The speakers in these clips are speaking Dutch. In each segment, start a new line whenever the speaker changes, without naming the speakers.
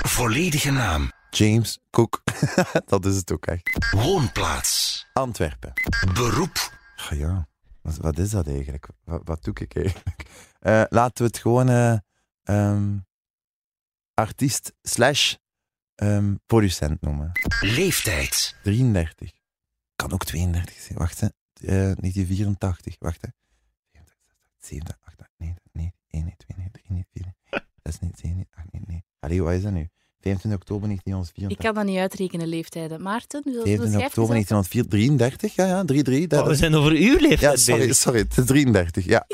Volledige naam.
James Cook. dat is het ook echt.
Woonplaats.
Antwerpen.
Beroep.
Ah ja, wat, wat is dat eigenlijk? Wat, wat doe ik eigenlijk? Eh, laten we het gewoon eh, ehm, artiest slash ehm, producent noemen.
Leeftijd.
33. Kan ook 32 zijn. Wacht, hè. Eh, 1984. Wacht, hè. 7, 8, 9, 9, 1, 2, 3, 4, 6, 7, 8, 9, 9. Allee, wat is dat nu? 25 oktober
Ik
1984.
kan dat niet uitrekenen, leeftijden. Maarten, wil je
25
schrijven?
oktober 1934, ja, ja, 3-3.
Maar
dat-
Oh, we zijn over uw leeftijd
Ja, sorry,
bezig.
sorry, het is 33, ja.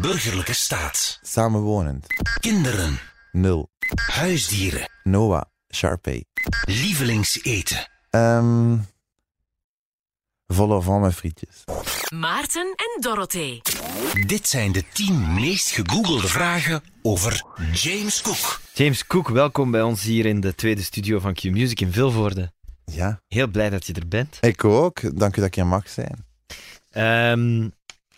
Burgerlijke staat.
Samenwonend,
Kinderen.
0.
Huisdieren.
Noah, Sharpay.
Lievelingseten.
Ehm vol au vent met frietjes.
Maarten en Dorothee.
Dit zijn de 10 meest gegoogelde vragen over James Cook.
James Cook, welkom bij ons hier in de tweede studio van Q-Music in Vilvoorde.
Ja,
Heel blij dat je er bent.
ik ook. Dank u dat ik hier mag zijn.
Ehm,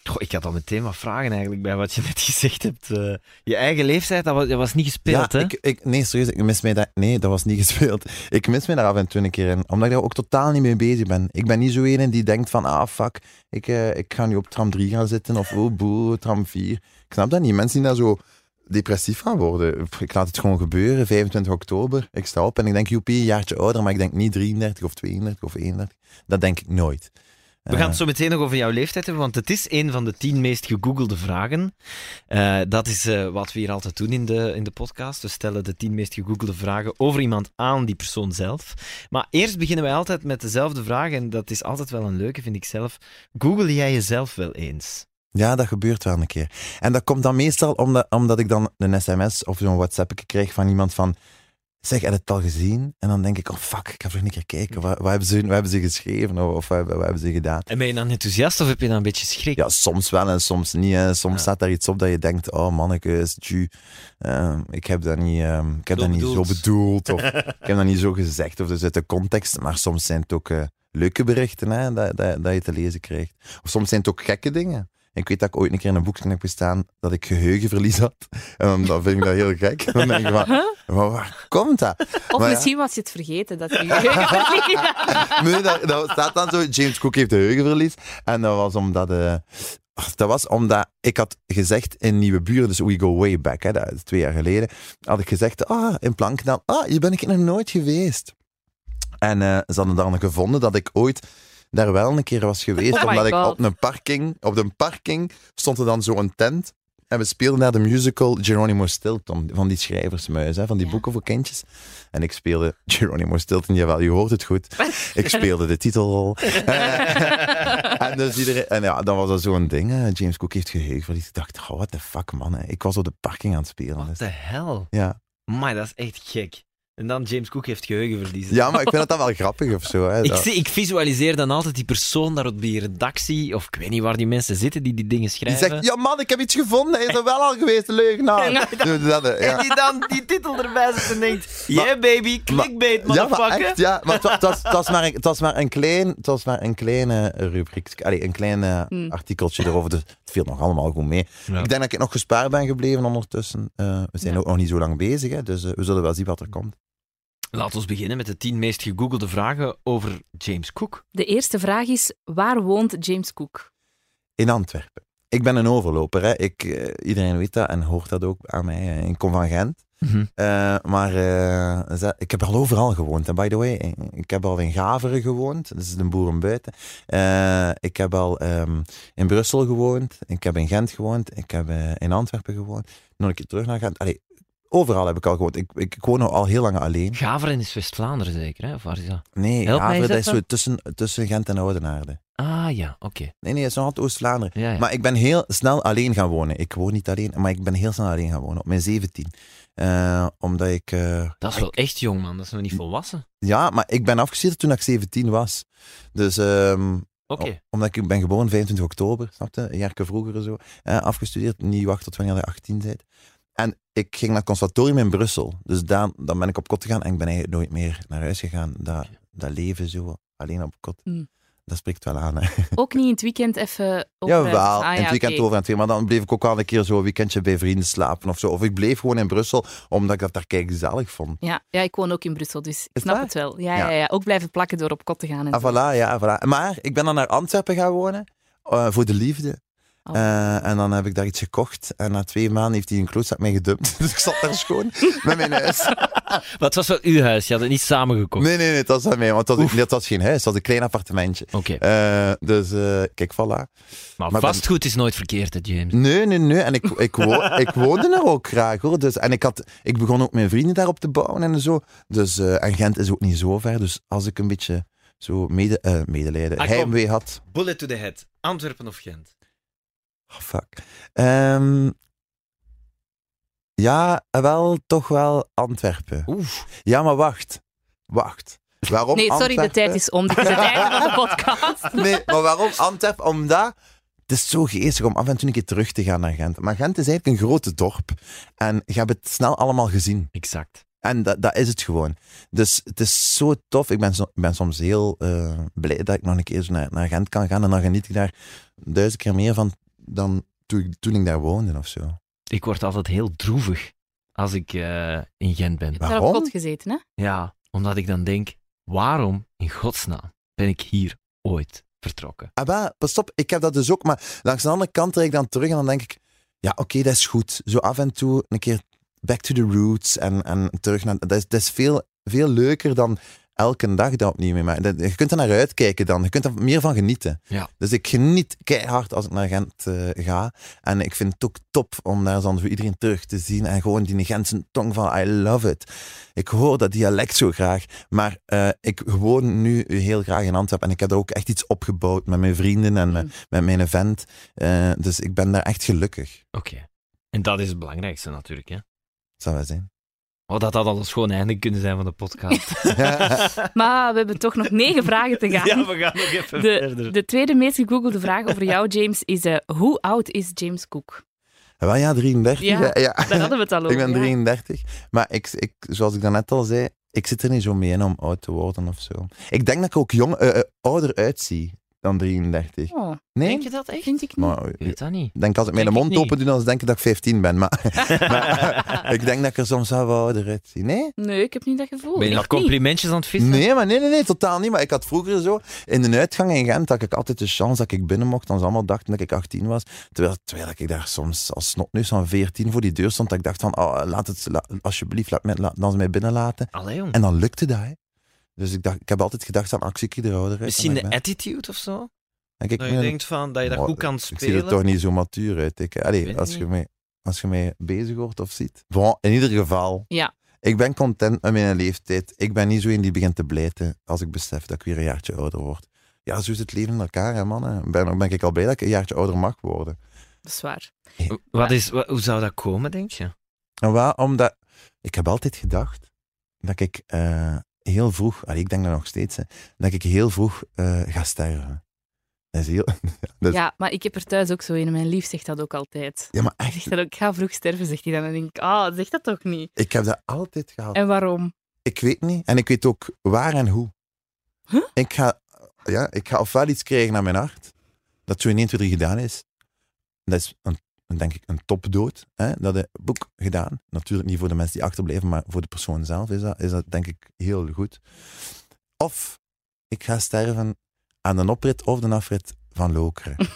goh, ik had al meteen wat vragen eigenlijk bij wat je net gezegd hebt. Eh, je eigen leeftijd, dat was, dat was niet gespeeld,
ja,
hè?
ik, ik, nee, serieus, ik mis mij dat... Nee, dat was niet gespeeld. Ik mis mij daar af en toe een keer in, omdat ik daar ook totaal niet mee bezig ben. Ik ben niet zo een die denkt van, ah, fuck, ik, eh, ik ga nu op tram 3 gaan zitten, of oh, boe, tram 4. Ik snap dat niet. Mensen die daar zo depressief van worden. Pff, Ik laat het gewoon gebeuren, 25 oktober, ik sta op en ik denk, joepie, een jaartje ouder, maar ik denk niet 33 of 32 of 31. Dat denk ik nooit. Eh,
We gaan het zo meteen nog over jouw leeftijd hebben, want het is een van de tien meest gegoogelde vragen. Eh, dat is eh, wat we hier altijd doen in de, in de podcast. We stellen de tien meest gegoogelde vragen over iemand aan, die persoon zelf. Maar eerst beginnen wij altijd met dezelfde vraag, en dat is altijd wel een leuke, vind ik zelf. Google jij jezelf wel eens?
Ja, dat gebeurt wel een keer. En dat komt dan meestal omdat, omdat ik dan een sms of zo'n whatsapp krijg van iemand van... Zeg, heb je het al gezien? En dan denk ik, oh fuck, ik ga even een keer kijken. Wat, wat, hebben, ze, wat hebben ze geschreven of, of wat, wat hebben ze gedaan?
En ben je dan enthousiast of heb je dan een beetje schrik?
Ja, soms wel en soms niet. Hè. Soms
Ja.
staat daar iets op dat je denkt, oh mannekes, tju, ehm, ik heb dat niet, ehm, ik heb
Zo
dat niet
bedoeld.
zo bedoeld. Of ik heb dat niet zo gezegd. Of dus uit de context. Maar soms zijn het ook eh, leuke berichten hè, dat, dat, dat je te lezen krijgt. Of soms zijn het ook gekke dingen. Ik weet dat ik ooit een keer in een boekje heb gestaan dat ik geheugenverlies had. En dan- dan vind ik dat heel gek. Dan denk ik, van, van waar komt dat?
Of
Maar ja.
misschien was je het vergeten dat je je
Nee, dat, dat staat dan zo. James Cook heeft geheugenverlies. En dat was omdat. eh, dat was omdat ik had gezegd in Nieuwe Buren, dus We Go Way Back, hè, dat is twee jaar geleden, had ik gezegd, ah, in Planknaam, ah, hier ben ik nog nooit geweest. En eh, ze hadden dan gevonden dat ik ooit daar wel een keer was geweest,
Oh my
omdat ik
God.
op een parking, op een parking stond er dan zo'n tent en we speelden naar de musical Geronimo Stilton, van die schrijversmuis, hè, van die
Ja.
boeken voor kindjes. En ik speelde Geronimo Stilton, jawel, je hoort het goed. Ik speelde de titel. en, dus iedereen, en ja, dan was dat zo'n ding. hè. James Cook heeft geheugenverlies. Ik dacht, oh, what the fuck, man. hè. Ik was op de parking aan het spelen.
Wat
dus-
de hel?
Ja.
Maar dat is echt gek. En dan James Cook heeft geheugenverlies.
ja, maar ik vind dat dan wel grappig of zo. Hè.
Ik,
Dat-
zie, ik visualiseer dan altijd die persoon daar op die redactie, of ik weet niet waar die mensen zitten die die dingen
die
schrijven.
zegt, ja man, ik heb iets gevonden. Hij is er wel al geweest, de leugenaar.
nou,
Dat, hè, ja.
En die dan die titel erbij zet en denkt: Yeah, baby, clickbait,
Ja, maar
motherfucker.
echt, ja. Maar het wa- het was- het was maar een- het was maar een klein, het was maar een kleine rubriek, allee, een klein eh,
Hmm.
artikeltje erover. Dus het viel nog allemaal goed mee.
Ja.
Ik denk dat ik nog gespaard ben gebleven ondertussen. Eh, we zijn
Ja.
ook nog niet zo lang bezig, hè, dus eh, we zullen wel zien wat er komt.
Laten we beginnen met de tien meest gegoogelde vragen over James Cook.
De eerste vraag is, waar woont James Cook?
In Antwerpen. Ik ben een overloper, hè. Ik, eh, iedereen weet dat en hoort dat ook aan mij. eh, Ik kom van Gent. Eh, maar eh, ze- ik heb al overal gewoond. En by the way, ik- ik heb al in Gaveren gewoond. Dat is een boerenbuiten. Eh, ik heb al ehm, in Brussel gewoond. Ik heb in Gent gewoond. Ik heb eh, in Antwerpen gewoond. Nog een keer terug naar Gent. Allee, overal heb ik al gewoond. Ik, ik, ik woon al- al heel lang alleen.
Gaveren is West-Vlaanderen zeker, hè? Of waar is dat?
Nee,
Help mij
Gaveren dat
eens
is zo
even.
tussen, tussen Gent en Oudenaarde.
Ah ja, oké.
Nee, nee, het is nog altijd Oost-Vlaanderen.
Ja, ja.
Maar ik ben heel snel alleen gaan wonen. Ik woon niet alleen, maar ik ben heel snel alleen gaan wonen. Op mijn 17. Eh, omdat ik... eh,
dat is wel echt jong, man. Dat is nog niet volwassen.
Ja, maar ik ben afgestudeerd toen ik 17 was. Dus ehm,
Oké.
o- omdat ik ben geboren 25 oktober, snap je? Een jaarke vroeger en zo. Eh, afgestudeerd, niet wachten tot wanneer je 18 bent. En ik ging naar het conservatorium in Brussel. Dus daar, dan ben ik op kot gegaan en ik ben eigenlijk nooit meer naar huis gegaan. Dat, dat leven zo, alleen op kot.
Mm.
Dat spreekt wel aan. Hè.
Ook niet in het weekend even op
Jawel,
Ah,
en het
ja,
weekend
oké.
over en twee. Maar dan bleef ik ook wel een keer zo een weekendje bij vrienden slapen of zo. Of ik bleef gewoon in Brussel, omdat ik dat daar kijk gezellig vond.
Ja, ja, ik woon ook in Brussel, dus ik
het
snap
waar?
het wel. Ja,
Ja.
ja. Ja, ook blijven plakken door op kot te gaan. En
Ah,
zo.
voilà, ja, voilà. Maar ik ben dan naar Antwerpen gaan wonen eh, voor de liefde.
Oh.
Eh, en dan heb ik daar iets gekocht. En na twee maanden heeft hij een klootzak mij gedumpt. Dus ik zat daar schoon met mijn huis.
Wat was wel uw huis? Je had het niet
Oh.
samengekocht.
Nee, nee, nee, het was aan mij. Want dat was, dat was geen huis, dat was een klein appartementje.
Oké,
Eh, dus eh, kijk, voilà.
maar,
maar dan-
vastgoed is nooit verkeerd, hè, James.
Nee, nee, nee. En ik, ik, wo ik woonde daar ook graag hoor. Dus, en ik, had, ik begon ook mijn vrienden daarop te bouwen en zo. Dus, eh, en Gent is ook niet zo ver. Dus als ik een beetje zo mede, eh, medelijden,
Ah, kom.
heimwee had.
Bullet to the head. Antwerpen of Gent?
Oh, fuck. Ehm, ja, wel, toch wel Antwerpen.
Oef.
Ja, maar wacht. Wacht. Waarom
Nee, sorry, de
Antwerpen?
tijd is om. Dit is het einde van de podcast.
Nee, maar waarom Antwerpen? Omdat het is zo geestig om af en toe een keer terug te gaan naar Gent. Maar Gent is eigenlijk een grote dorp. En je hebt het snel allemaal gezien.
Exact.
En dat, dat is het gewoon. Dus het is zo tof. Ik ben, so- ik ben soms heel eh, blij dat ik nog een keer zo naar, naar Gent kan gaan. En dan geniet ik daar duizend keer meer van dan toen ik, toen ik daar woonde of zo.
Ik word altijd heel droevig als ik eh, in Gent ben.
Ik heb daar op
Waarom?
kot gezeten, hè?
Ja, omdat ik dan denk, waarom in godsnaam ben ik hier ooit vertrokken?
Ah, wel, pas op, ik heb dat dus ook. Maar langs de andere kant trek ik dan terug en dan denk ik... Ja, oké, dat is goed. Zo af en toe een keer back to the roots en, en terug naar... Dat is, dat is veel, veel leuker dan elke dag dat opnieuw mee maken. Dat- Je kunt er naar uitkijken dan. Je kunt er meer van genieten.
Ja.
Dus ik geniet keihard als ik naar Gent eh, ga. En ik vind het ook top om daar dan voor iedereen terug te zien. En gewoon die Gentse tong van I love it. Ik hoor dat dialect zo graag. Maar eh, ik woon nu heel graag in Antwerpen. En ik heb er ook echt iets opgebouwd met mijn vrienden en met,
Mm.
met mijn vent. Eh, dus ik ben daar echt gelukkig.
Oké. En dat is het belangrijkste natuurlijk, hè?
Zou wel zijn.
Oh, dat had al een schoon einde kunnen zijn van de podcast.
Maar we hebben toch nog negen vragen te gaan.
Ja, we gaan nog even
De,
verder.
de tweede meest gegoogelde vraag over jou, James, is eh, hoe oud is James Cook?
Wel ja, 33.
Ja,
hè? ja.
Daar hadden we het al over.
Ik ben
ja.
33. Maar ik, ik, zoals ik daarnet al zei, ik zit er niet zo mee in om oud te worden of zo. Ik denk dat ik ook jong, eh, eh, ouder uitzie dan 33.
Oh,
Nee?
Denk je dat echt?
vind ik niet.
Maar eh,
Ik weet dat niet.
ik denk als ik mijn
Denk ik
mond
niet.
open doe, dan denk ik dat ik 15 ben. Maar, maar ik denk dat ik er soms wel wat ouder uitzie. Nee?
Nee, ik heb niet dat gevoel.
Ben je nog
Echt niet.
complimentjes aan het vissen?
Nee, maar nee, nee, nee, totaal niet. Maar ik had vroeger zo in de uitgang in Gent dat ik altijd de chance dat ik binnen mocht. Dan ze allemaal dachten dat ik 18 was. Terwijl, terwijl ik daar soms als snotneus van 14 voor die deur stond. Dat ik dacht van, oh, laat het, la- alsjeblieft, laat, mij- laat, dan ze mij binnen laten.
Allee, jong.
En dan lukte dat, hè. Dus ik, dacht, ik heb altijd gedacht aan actie de ouder. uit
Misschien
dan ik
de
ben.
attitude of zo?
En kijk,
Dat
nu
Nou, je
dan-
denkt van, dat je dat
Maar,
goed
Oh,
kan
ik zie er
spelen.
toch niet zo matuur uit. Ik,
Ik weet
allee,
het
als, je
niet.
mij, als je mij bezig hoort of ziet. Bon, in ieder geval.
Ja.
Ik ben content met mijn leeftijd. Ik ben niet zo in die begint te blijten als ik besef dat ik weer een jaartje ouder word. Ja, zo is het leven in elkaar, hè, mannen. Ben, ben ik al blij dat ik een jaartje ouder mag worden.
Dat is waar.
Wat is, wa- hoe zou dat komen, denk je?
En waar? Omdat ik heb altijd gedacht dat ik eh, heel vroeg, allee, ik denk dat nog steeds, hè, dat ik heel vroeg eh, ga sterven. Dat is heel... Dus-
Ja, maar ik heb er thuis ook zo in. Mijn lief zegt dat ook altijd.
Ja, maar
Hij
echt,
zegt dat ook, ik ga vroeg sterven, zegt hij dan. En dan denk ik, ah, zeg dat toch niet?
ik heb dat altijd gehad.
En waarom?
Ik weet niet. En ik weet ook waar en hoe.
Huh?
Ik, ga, ja, ik ga ofwel iets krijgen naar mijn hart, dat zo in 1, 2, 3 gedaan is. Dat is, een, een- denk ik, een topdood. Hè? Dat is boek gedaan. Natuurlijk niet voor de mensen die achterblijven, maar voor de persoon zelf is dat, is dat denk ik heel goed. Of ik ga sterven aan de oprit of de afrit van Lokeren.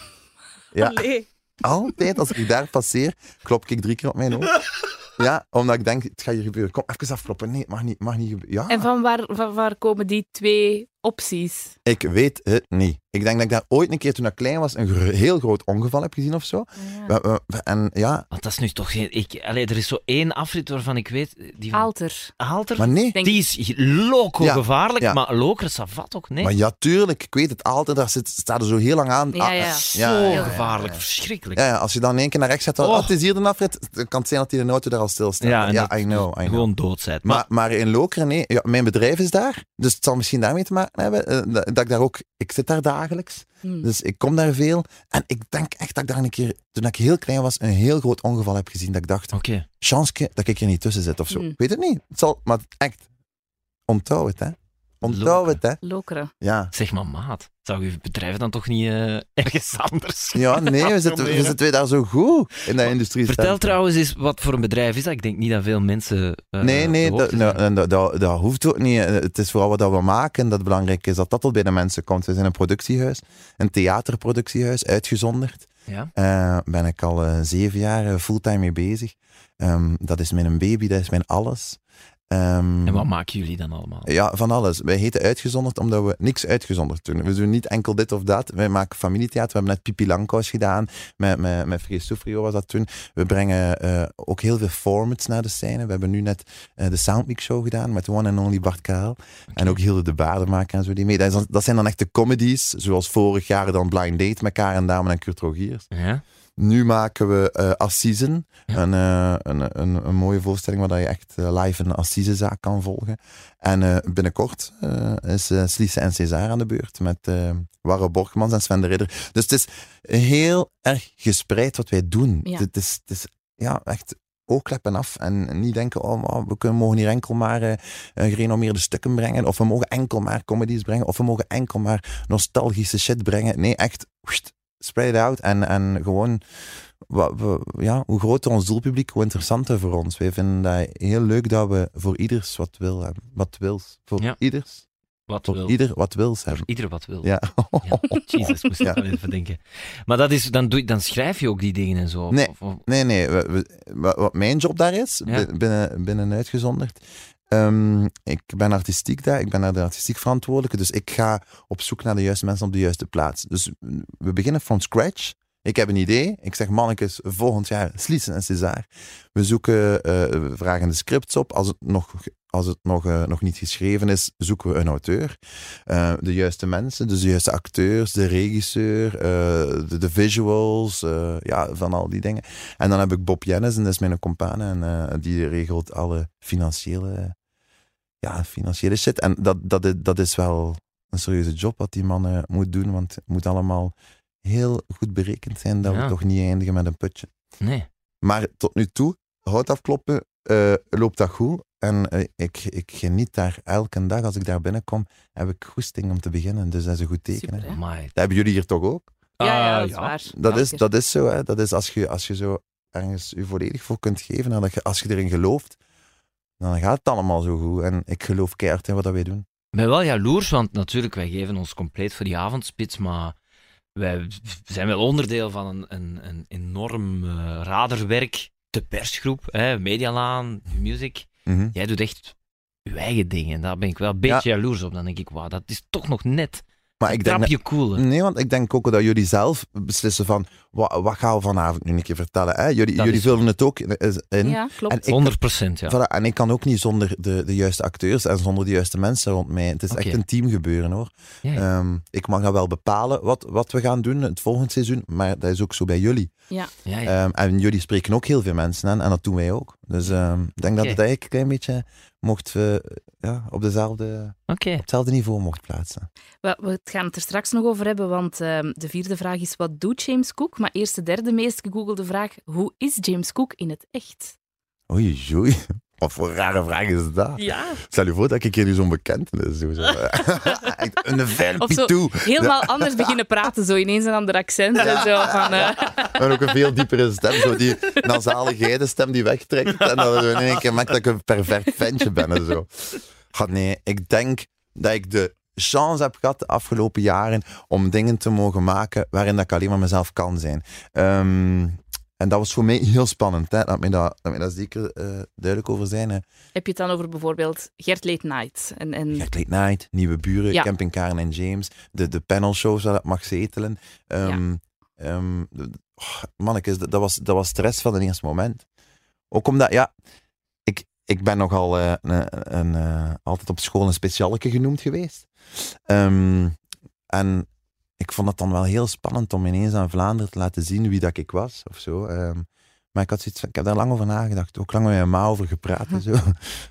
Ja.
Allee.
Altijd als ik daar passeer, klop ik drie keer op mijn hoofd. Ja, omdat ik denk, het gaat hier gebeuren. Kom, even afkloppen. Nee, het mag niet, mag niet gebeuren. Ja.
En van waar, van waar komen die twee opties?
Ik weet het niet. Ik denk dat ik daar ooit een keer toen ik klein was een gro- heel groot ongeval heb gezien of zo. We- we- we- En ja,
Want dat is nu toch geen... Ik, allee, er is zo één afrit waarvan ik weet... Die van
Alter.
Aalter?
maar nee.
Denk-
Die is loco
Ja,
gevaarlijk,
ja.
maar Lokeren savat ook, nee.
Maar ja, tuurlijk. Ik weet het altijd. Daar zit, staat er zo heel lang aan.
Ja,
Ah,
ja.
eh,
Zo
ja, ja, ja, ja.
gevaarlijk, verschrikkelijk.
Ja, ja, als je dan in één keer naar rechts gaat, dan
Oh.
oh, het is hier de afrit. Dan kan het zijn dat die de auto daar al stilstaat.
Ja,
Ja,
en
ja
dat-
I know, I know.
Gewoon doodzijd. Maar,
Maar, maar in Lokeren, nee. Ja, mijn bedrijf is daar. Dus het zal misschien daarmee te maken hebben. eh, dat, dat ik daar ook... Ik zit daar dagelijks.
Hm.
Dus ik kom daar veel. En ik denk echt dat ik daar een keer, toen ik heel klein was, een heel groot ongeval heb gezien. Dat ik dacht,
oké.
chanske dat ik er niet tussen zit of zo.
Mm.
Ik weet het niet. Het zal, maar echt, onthoud het, hè. Onthoud
Loken.
het, hè.
Lokeren.
Ja.
Zeg maar, maat, zou je bedrijf dan toch niet eh, ergens anders?
Ja, nee, we zitten, we zitten weer daar zo goed in dat industrie.
Vertel trouwens eens wat voor een bedrijf is dat. Ik denk niet dat veel mensen. eh,
Nee, nee,
op de
dat,
hoogte
nou,
zijn.
en dat, dat, dat hoeft ook niet. Eh, Het is vooral wat dat we maken dat belangrijk is, dat dat tot bij de mensen komt. We zijn een productiehuis, een theaterproductiehuis, uitgezonderd.
Ja?
Eh ben ik al eh, zeven jaar eh, fulltime mee bezig. Ehm, dat is mijn baby, dat is mijn alles. Ehm,
En wat maken jullie dan allemaal?
ja, van alles. Wij heten uitgezonderd omdat we niks uitgezonderd doen. We doen niet enkel dit of dat. Wij maken familietheater. We hebben net Pipi Langkous gedaan. Met, met, met Frees Soufrio was dat toen. We brengen eh, ook heel veel formats naar de scène. We hebben nu net eh, de Soundmix Show gedaan met One and Only Bart Karel. En ook Hilde de Baardenmaker en zo die mee. Dat, is dan- dat zijn dan echt de comedies. Zoals vorig jaar dan Blind Date met Karen Damen en Kurt Rogiers.
Ja?
Nu maken we eh Assisen.
Ja.
Een, eh, een, een, een mooie voorstelling waar dat je echt eh, live een Assisezaak kan volgen. En eh, binnenkort eh, is eh Slisse en César aan de beurt met eh Warre Borgmans en Sven de Ridder. Dus het is heel erg gespreid wat wij doen.
Ja.
Het, het is, het is ja, echt oogkleppen af en niet denken, oh, maar we kunnen, mogen hier enkel maar eh, eh, gerenommeerde stukken brengen, of we mogen enkel maar comedies brengen, of we mogen enkel maar nostalgische shit brengen. Nee, echt, wst, spread it out en, en gewoon wa- we- ja, hoe groter ons doelpubliek, hoe interessanter voor ons. Wij vinden dat heel leuk dat we voor ieders wat wil hebben. Wat wils. Voor
Ja.
ieders.
Wat
Voor
wil.
ieder wat wils hebben.
Ieder wat wil.
Ja.
Ja, Jezus, moest ik
Ja.
wel even denken. Maar dat is, dan, doe, je- dan schrijf je ook die dingen en zo. of-
Nee.
of- of-
Nee, nee. we- we- wa- wat mijn job daar is,
Ja.
bi- binnen, binnen uitgezonderd. ehm, ik ben artistiek daar, ik ben daar de artistiek verantwoordelijke, dus ik ga op zoek naar de juiste mensen op de juiste plaats. Dus we beginnen from scratch. Ik heb een idee. Ik zeg, mannetjes, volgend jaar Sliessen en César. We zoeken, eh, we vragen de scripts op. Als het nog, als het nog, eh, nog niet geschreven is, zoeken we een auteur. Eh, de juiste mensen, dus de juiste acteurs, de regisseur, eh, de, de visuals, eh, ja, van al die dingen. En dan heb ik Bob Jennis, en dat is mijn compaan, en eh, die regelt alle financiële, ja, financiële shit. En dat, dat, is- dat is wel een serieuze job wat die man eh, moet doen, want het moet allemaal heel goed berekend zijn dat
Ja.
we toch niet eindigen met een putje.
nee.
Maar tot nu toe, hout afkloppen, eh, loopt dat goed. En eh, ik, ik geniet daar elke dag. Als ik daar binnenkom, heb ik goesting om te beginnen. Dus dat is een goed teken. hè.
Super, hè?
Amai.
Dat hebben jullie hier toch ook?
Ja, ja,
Ah,
dat is waar.
Dat,
Ja,
is,
zeker.
dat is zo. Hè. Dat is als je, als je zo ergens je volledig voor kunt geven. En dat je, als je erin gelooft, dan gaat het allemaal zo goed. En ik geloof keihard in wat dat wij doen.
Ik ben wel jaloers, want natuurlijk, wij geven ons compleet voor die avondspits, maar wij zijn wel onderdeel van een, een, een enorm eh, raderwerk. De persgroep, hè, Medialaan, Music.
Mhm.
Jij doet echt je eigen dingen. En daar ben ik wel een beetje jaloers op. Dan denk ik, wauw, dat is toch nog net
Maar Ah,
een
ik denk, Mm,
trapje cooler.
Nee, want ik denk ook dat jullie zelf beslissen van wat, wat gaan we vanavond nu een keer vertellen. Hè? Jullie,
Dat
jullie
is zo.
vullen het ook in. in.
Ja,
En
klopt.
ik-
100% ja.
Voilà, en ik kan ook niet zonder de, de juiste acteurs en zonder de juiste mensen rond mij. Het is
Oké.
echt een team gebeuren hoor.
Ja, ja.
Ehm, ik mag dan wel bepalen wat, wat we gaan doen het volgende seizoen, maar dat is ook zo bij jullie.
ja, ja.
Ehm, en jullie spreken ook heel veel mensen aan en dat doen wij ook. Dus ehm, ik denk dat
Oké.
het eigenlijk een klein beetje mocht, eh, ja, op, dezelfde,
Oké.
op hetzelfde niveau mocht plaatsen.
We, we gaan het er straks nog over hebben, want ehm, de vierde vraag is wat doet James Cook? Maar eerst de derde meest gegoogelde vraag, hoe is James Cook in het echt?
Oei, joei. Wat voor rare vraag is dat?
Ja.
Stel je voor dat ik hier nu zo'n bekentenis doe. zo. Echt een
Of zo.
velpie toe.
Helemaal anders beginnen praten, zo ineens een ander accent en zo. Van, eh,
En ook een veel diepere stem, zo die nasale geidenstem die wegtrekt. En dat we in één keer merkt dat ik een pervert ventje ben en zo. God, nee, ik denk dat ik de chance heb gehad de afgelopen jaren om dingen te mogen maken waarin dat ik alleen maar mezelf kan zijn. Ehm, en dat was voor mij heel spannend. Hè? Laat, mij dat, laat mij daar zeker eh, duidelijk over zijn. Hè?
Heb je het dan over bijvoorbeeld Gert Late Night? En, en...
Jack Late Night, Nieuwe Buren,
Ja.
Camping Karen en James, de, de panelshows waar dat mag zetelen. Ehm ehm, de- de- oh, mannetjes, dat, dat was, dat was stress van het eerste moment. Ook omdat, ja, ik, ik ben nogal eh, een, een, eh, altijd op school een specialke genoemd geweest. Ehm, en ik vond het dan wel heel spannend om ineens aan Vlaanderen te laten zien wie dat ik was of zo. Ehm, maar ik, had zoiets van, ik heb daar lang over nagedacht. Ook lang met mijn ma over gepraat en zo.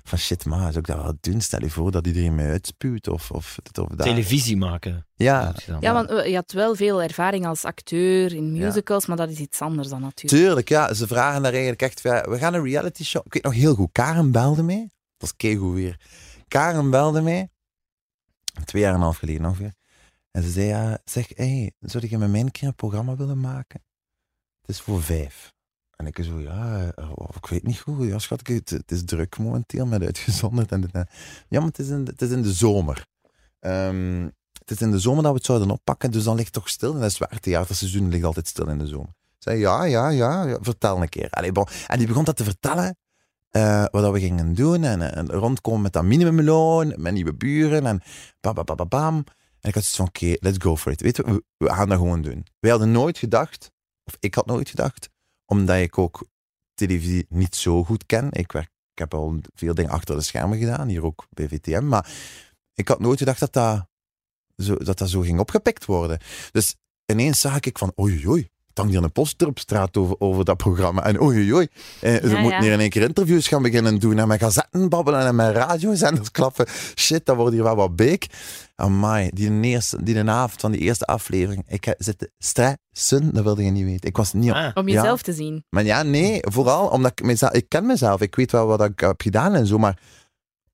Van shit, ma, zou ik dat wel doen? Stel je voor dat iedereen mij uitspuwt of, of dit of dat.
Televisie maken.
Ja,
Dat is dan-
Ja, want eh, je had wel veel ervaring als acteur in musicals, maar dat is iets anders dan natuurlijk.
tuurlijk. Ja, ze vragen daar eigenlijk echt... van, ja, We gaan een reality show... Ik weet nog heel goed, Karen belde mij. Dat was keigoed weer. Karen belde mij. twee jaar en een half geleden ongeveer. En ze zei, ja, zeg, hey, zou je met mij een keer een programma willen maken? Het is voor vijf. En ik zo, ja, eh, oh, ik weet niet goed. Ja, schat, ik- het, het is druk momenteel met uitgezonderd. En dit en- ja, maar het is in, de- het is in de zomer. Ehm, het is in de zomer dat we het zouden oppakken, dus dan ligt het toch stil. En dat is waar, het theaterseizoen ligt altijd stil in de zomer. Ik zei, ja, ja, ja, ja, vertel een keer. Allee, bon. En die begon dat te vertellen, eh, wat dat we gingen doen. En, eh, en rondkomen met dat minimumloon, met nieuwe buren en bam, bam, bam, bam, bam. En ik had zoiets van, oké, let's go for it. Weet je, we, we gaan dat gewoon doen. Wij hadden nooit gedacht, of ik had nooit gedacht, omdat ik ook televisie niet zo goed ken. Ik, werk, ik heb al veel dingen achter de schermen gedaan, hier ook bij VTM. Maar ik had nooit gedacht dat dat zo, dat, dat zo ging opgepikt worden. Dus ineens zag ik van, oei, oei, oei, het hangt hier een poster op straat over, over dat programma. En oei, oei, oei, eh, ze
Ja,
moeten
ja.
hier in één keer interviews gaan beginnen doen en met gazetten babbelen en met radiozenders klappen. Shit, dat wordt hier wel wat beek. Amai, die, eerste, die de avond van die eerste aflevering, ik heb zitten stressen, dat wilde je niet weten. Ik was niet op
Ah,
Om
Ja.
jezelf te zien.
maar ja, nee, vooral omdat ik mezelf, ik ken mezelf, ik weet wel wat ik heb gedaan en zo, maar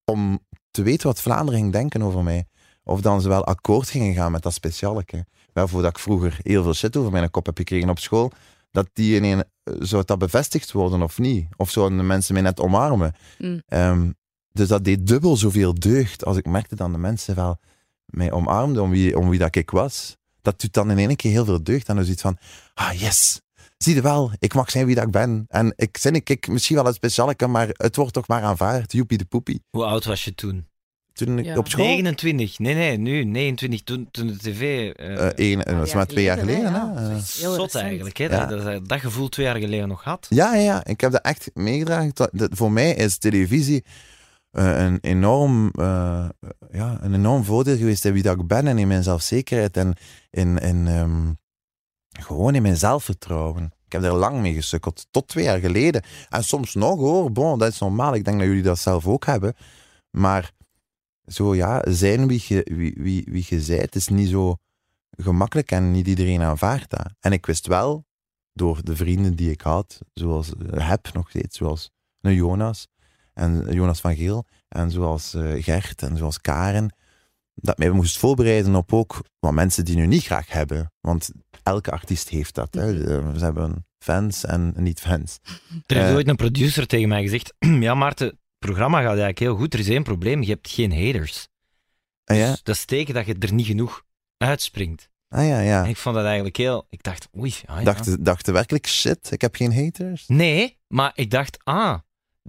om te weten wat Vlaanderen ging denken over mij. Of dan ze wel akkoord gingen gaan met dat specialeke. Waarvoor dat ik vroeger heel veel shit over mijn kop heb gekregen op school. Dat die in een, zou dat bevestigd worden of niet? Of zouden de mensen mij net omarmen?
Mm.
Ehm, dus dat deed dubbel zoveel deugd als ik merkte dat de mensen wel mij omarmden om wie, om wie dat ik was. Dat doet dan in één keer heel veel deugd. En dan zoiets van, ah yes, zie je wel, ik mag zijn wie dat ik ben. En ik zin ik, ik misschien wel een specialeke, maar het wordt toch maar aanvaard. Joepie de poepie.
Hoe oud was je toen?
Toen ik
Ja.
op school...
29. Nee, nee, nu 29. Toen, toen de tv... eh,
eh één, eh, dat is
jaar
maar twee jaar
geleden,
geleden.
hè,
hè.
ja. Heel
zot
recent.
eigenlijk, hè?
Ja.
Dat, dat, dat gevoel twee jaar geleden nog had.
Ja, ja, ja, ik heb dat echt meegedragen. Dat- dat- voor mij is televisie eh, een, enorm, eh, ja, een enorm voordeel geweest in wie dat ik ben en in mijn zelfzekerheid en in, in, ehm, gewoon in mijn zelfvertrouwen. Ik heb er lang mee gesukkeld, tot twee jaar geleden. En soms nog hoor, bon, dat is normaal. Ik denk dat jullie dat zelf ook hebben. Maar zo ja, zijn wie je wie, wie, wie je zijt is niet zo gemakkelijk en niet iedereen aanvaardt dat. En ik wist wel door de vrienden die ik had, zoals eh, heb nog steeds, zoals een Jonas en eh, Jonas van Geel en zoals eh, Gert en zoals Karen, dat mij moest voorbereiden op ook wat mensen die nu niet graag hebben. Want elke artiest heeft dat. Hè.
Mhm.
Eh, Ze hebben fans en niet-fans.
Er heeft
Eh.
ooit een producer tegen mij gezegd: Ja, Maarten, het programma gaat eigenlijk heel goed. Er is één probleem: je hebt geen haters.
Ah ja,
Dus dat is teken dat je er niet genoeg uitspringt.
ah ja, ja.
En ik vond dat eigenlijk heel. Ik dacht, oei, ah, ja.
Dachten dachten werkelijk, shit, ik heb geen haters.
Nee, maar ik dacht, ah,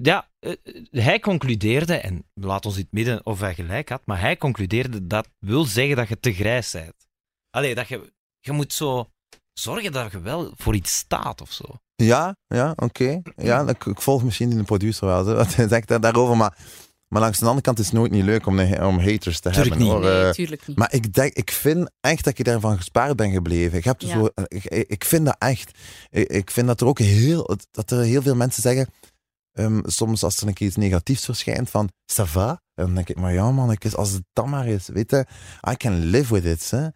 ja, eh, eh, hij concludeerde, en laat ons in het midden of hij gelijk had, maar hij concludeerde dat wil zeggen dat je te grijs bent. Allee, dat je, je moet zo zorgen dat je wel voor iets staat of zo.
Ja, ja, oké. Ja, ik, ik volg misschien de producer wel, zo, wat hij zegt daar- daarover. Maar, maar langs de andere kant is het nooit niet leuk om, de- om haters te
Tuurlijk
hebben.
niet.
hoor.
Nee,
Eh,
tuurlijk niet.
Maar ik, denk, ik vind echt dat je daarvan gespaard bent gebleven. Ik, heb
Ja.
zo, eh, ik, ik vind dat echt. Ik, ik vind dat er ook heel, dat er heel veel mensen zeggen, ehm, soms als er een keer iets negatiefs verschijnt, van ça va? En dan denk ik, maar ja man, ik is, als het dan maar is, weet je, I can live with it. Hè?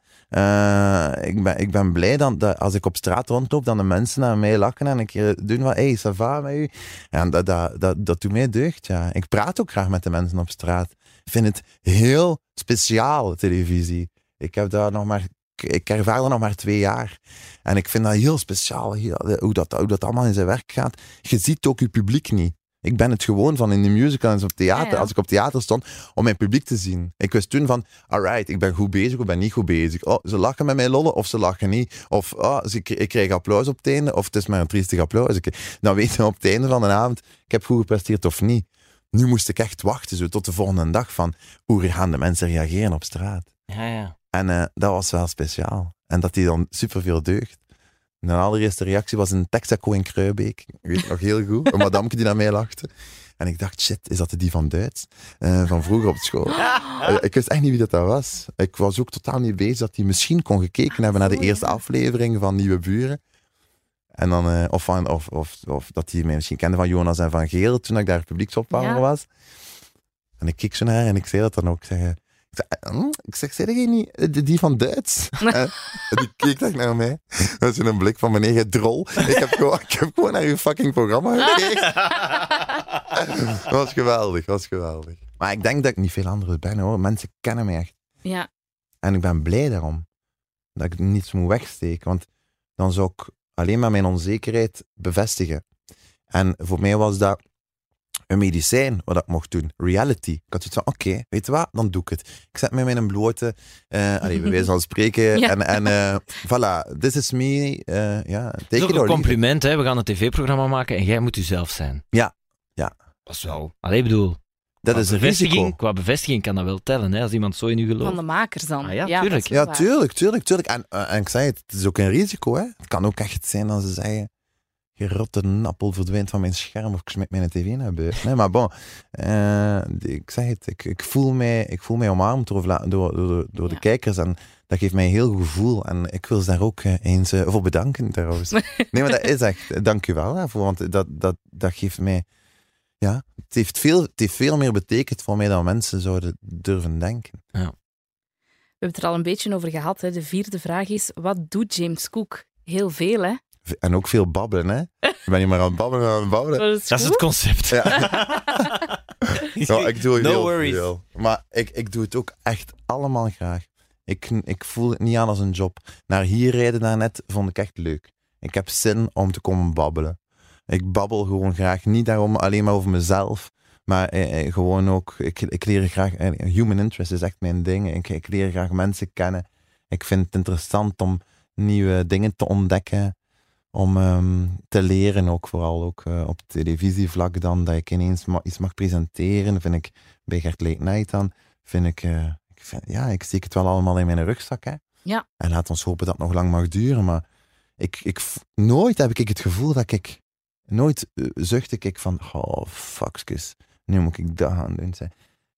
Eh, ik, ben, ik ben blij dan, dat als ik op straat rondloop, dan de mensen naar mij lachen en een keer doen van, hey, ça va met u? En dat, dat, dat, dat doet mij deugd, ja. Ik praat ook graag met de mensen op straat. Ik vind het heel speciaal, televisie. Ik heb daar nog maar... Ik ervaar dat nog maar twee jaar. En ik vind dat heel speciaal, heel- hoe, dat, hoe dat allemaal in zijn werk gaat. Je ziet ook je publiek niet. Ik ben het gewoon van in de musical en op theater,
Ja, ja.
als ik op theater stond, om mijn publiek te zien. Ik wist toen van, alright, ik ben goed bezig of ben niet goed bezig. Oh, ze lachen met mij lollen of ze lachen niet. Of oh, ze, ik, ik krijg applaus op het einde of het is maar een triestig applaus. Ik, dan weten we op het einde van de avond, ik heb goed gepresteerd of niet. Nu moest ik echt wachten zo, tot de volgende dag van hoe gaan de mensen reageren op straat.
Ja, ja.
En eh, dat was wel speciaal. En dat die dan superveel deugd. Mijn allereerste reactie was een Texaco in Kruibeek. Ik weet het nog heel goed. Een madamke die naar mij lachte. En ik dacht, shit, is dat de die van Duits? Eh, van vroeger op school. Eh, ik wist echt niet wie dat, dat was. Ik was ook totaal niet bezig dat die misschien kon gekeken hebben naar de
zo,
eerste
ja.
aflevering van Nieuwe Buren. En dan, eh, of, van, of, of, of dat hij mij misschien kende van Jonas en van Geel toen ik daar publieksopwarmer
Ja.
was. En ik keek zo naar haar en ik zei dat dan ook. Ik zeg, eh, ik zeg, eh, hm? ik zeg zei jij niet eh, die- die van Duits? Eh, en die keek echt naar mij. Dat is een blik van meneer, je drol. Ik heb gewoon, ik heb gewoon naar uw fucking programma gekeken. Dat was geweldig, dat was geweldig. Maar ik denk dat ik niet veel anders ben hoor. Mensen kennen mij echt.
Ja,
En ik ben blij daarom. Dat ik niets moet wegsteken. Want dan zou ik alleen maar mijn onzekerheid bevestigen. En voor mij was dat een medicijn wat ik mocht doen. Reality. Ik had zoiets van, oké, weet je wat? Dan doe ik het. Ik zet mij met een blote... eh allee, bij wijze van spreken.
Ja.
En, en eh, voilà, this is me. eh ja, take
Het is
it
ook
or
een
leave it.
compliment, hè. We gaan een tv-programma maken en jij moet uzelf zijn.
Ja, ja.
Dat is wel... Allee, ik bedoel...
Dat
qua
is een
bevestiging-
risico.
Qua bevestiging kan dat wel tellen, hè. Als iemand zo in u gelooft.
van de makers dan.
Ah ja,
dat
tuurlijk.
is
Ja,
waar.
tuurlijk, tuurlijk, tuurlijk. En, eh, en ik zei het, het is ook een risico, hè. Het kan ook echt zijn dat ze zeggen, je rotte appel verdwijnt van mijn scherm of ik smijt mijn tv naar buiten. Nee, maar bon, eh, ik zeg het, ik, ik, voel, mij, ik voel mij omarmd door, vla- door, door, door, door
Ja.
de kijkers en dat geeft mij een heel goed gevoel. En ik wil ze daar ook eh, eens eh, voor bedanken, trouwens. Nee, maar dat is echt, eh, dank je wel daarvoor, want dat, dat, dat geeft mij... Ja, het heeft, veel, het heeft veel meer betekend voor mij dan mensen zouden durven denken.
We hebben het er al een beetje over gehad. Hè. De vierde vraag is, wat doet James Cook? Heel veel, hè?
En ook veel babbelen, hè? Ik ben niet maar aan het babbelen, aan het babbelen.
Dat is het concept.
Ja. Ja, ik doe
No
heel
worries.
veel. Maar ik, ik doe het ook echt allemaal graag. Ik, ik voel het niet aan als een job. Naar hier rijden daarnet vond ik echt leuk. Ik heb zin om te komen babbelen. Ik babbel gewoon graag. Niet daarom alleen maar over mezelf. Maar eh, eh, gewoon ook, ik, ik leer graag, eh, human interest is echt mijn ding. Ik, ik leer graag mensen kennen. Ik vind het interessant om nieuwe dingen te ontdekken. Om ehm, te leren ook, vooral ook eh, op televisievlak dan. Dat ik ineens ma- iets mag presenteren, vind ik bij Gert Late Night dan. Vind ik, eh, ik vind- ja, ik steek het wel allemaal in mijn rugzak. Hè.
Ja.
En laat ons hopen dat het nog lang mag duren. Maar ik, ik, v- nooit heb ik het gevoel dat ik, nooit eh, zucht ik van, oh fuckskes, nu moet ik dat gaan doen. Zeg.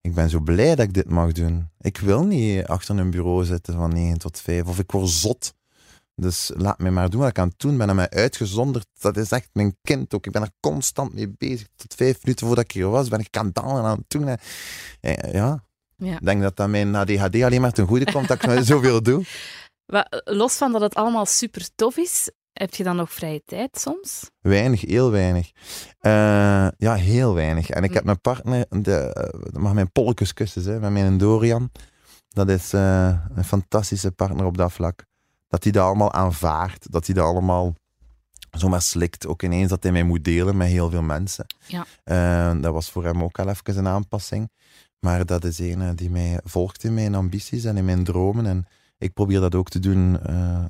Ik ben zo blij dat ik dit mag doen. Ik wil niet achter een bureau zitten van 9 tot 5 of ik word zot. Dus laat mij maar doen wat ik aan het doen ben. En mij uitgezonderd, dat is echt mijn kind ook. Ik ben er constant mee bezig. Tot vijf minuten voordat ik hier was, ben ik aan het dalen en aan het doen. hè. Eh, Ja,
Ja.
ik denk dat dat mijn ADHD alleen maar ten goede komt dat ik zoveel doe.
Wa- eh, Los van dat het allemaal super tof is, heb je dan nog vrije tijd soms?
Weinig, heel weinig. Eh, ja, heel weinig. En ik heb mijn partner, de, eh, dat mag mijn polletjes kussen, hè, met mijn Dorian. Dat is eh, een fantastische partner op dat vlak. Dat hij dat allemaal aanvaardt, dat hij dat allemaal zomaar slikt. Ook ineens dat hij mij moet delen met heel veel mensen.
Ja.
Eh, dat was voor hem ook al even een aanpassing. Maar dat is een eh, die mij volgt in mijn ambities en in mijn dromen. En ik probeer dat ook te doen eh,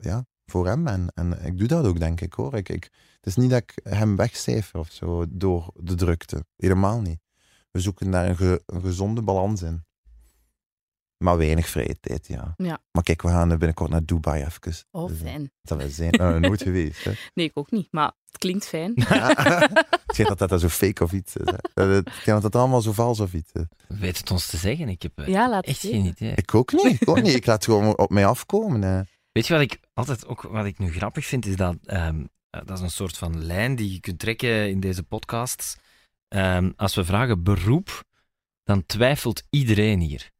ja, voor hem. En, en ik doe dat ook, denk ik hoor. Ik, ik, het is niet dat ik hem wegcijfer of zo door de drukte. Helemaal niet. We zoeken daar een, ge- een gezonde balans in. Maar weinig vrije tijd, ja.
Ja.
Maar kijk, we gaan binnenkort naar Dubai even.
Oh,
Dus, eh,
fijn.
Dat we zijn nou, nooit geweest. Hè.
Nee, ik ook niet, maar het klinkt fijn.
Ja. Het schijnt dat dat daar zo fake of iets is. Hè. Dat Het schijnt dat dat allemaal zo vals of iets is.
Weet het ons te zeggen. Ik heb eh,
Ja, laat
echt
het
geen idee.
Ik ook niet. Ik ook niet. Ik laat gewoon op mij afkomen. Hè.
Weet je wat ik altijd ook wat ik nu grappig vind, is dat ehm, eh, dat is een soort van lijn die je kunt trekken in deze podcasts. Ehm, als we vragen beroep, dan twijfelt iedereen hier.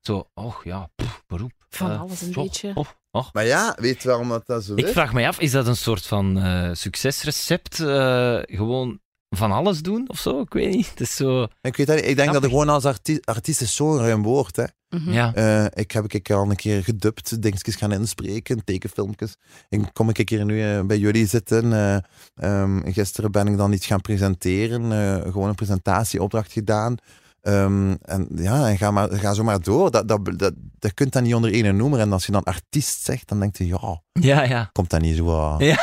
Zo, och ja, pff, beroep.
Van
eh,
alles een
och,
beetje.
och, och.
Maar ja, weet je waarom dat, dat zo
Ik vraag mij af, is dat een soort van eh, succesrecept? eh, gewoon van alles doen of zo? Ik weet niet. Het is zo.
Ik, weet dat, niet. ik denk dat er gewoon als arti artiest is zo'n ruim woord. Hè.
Mhm.
Ja.
Eh, ik heb ik al een keer gedubt, dingetjes gaan inspreken, tekenfilmpjes. Ik kom ik hier nu eh, bij jullie zitten. eh, ehm, gisteren ben ik dan iets gaan presenteren, eh, gewoon een presentatieopdracht gedaan. Ehm, en ja, en ga, maar, ga zo maar door. Dat, dat, dat, dat kunt dat niet onder ene noemer. En als je dan artiest zegt, dan denkt je, ja,
Ja, ja.
komt dat niet zo wat.
Ja.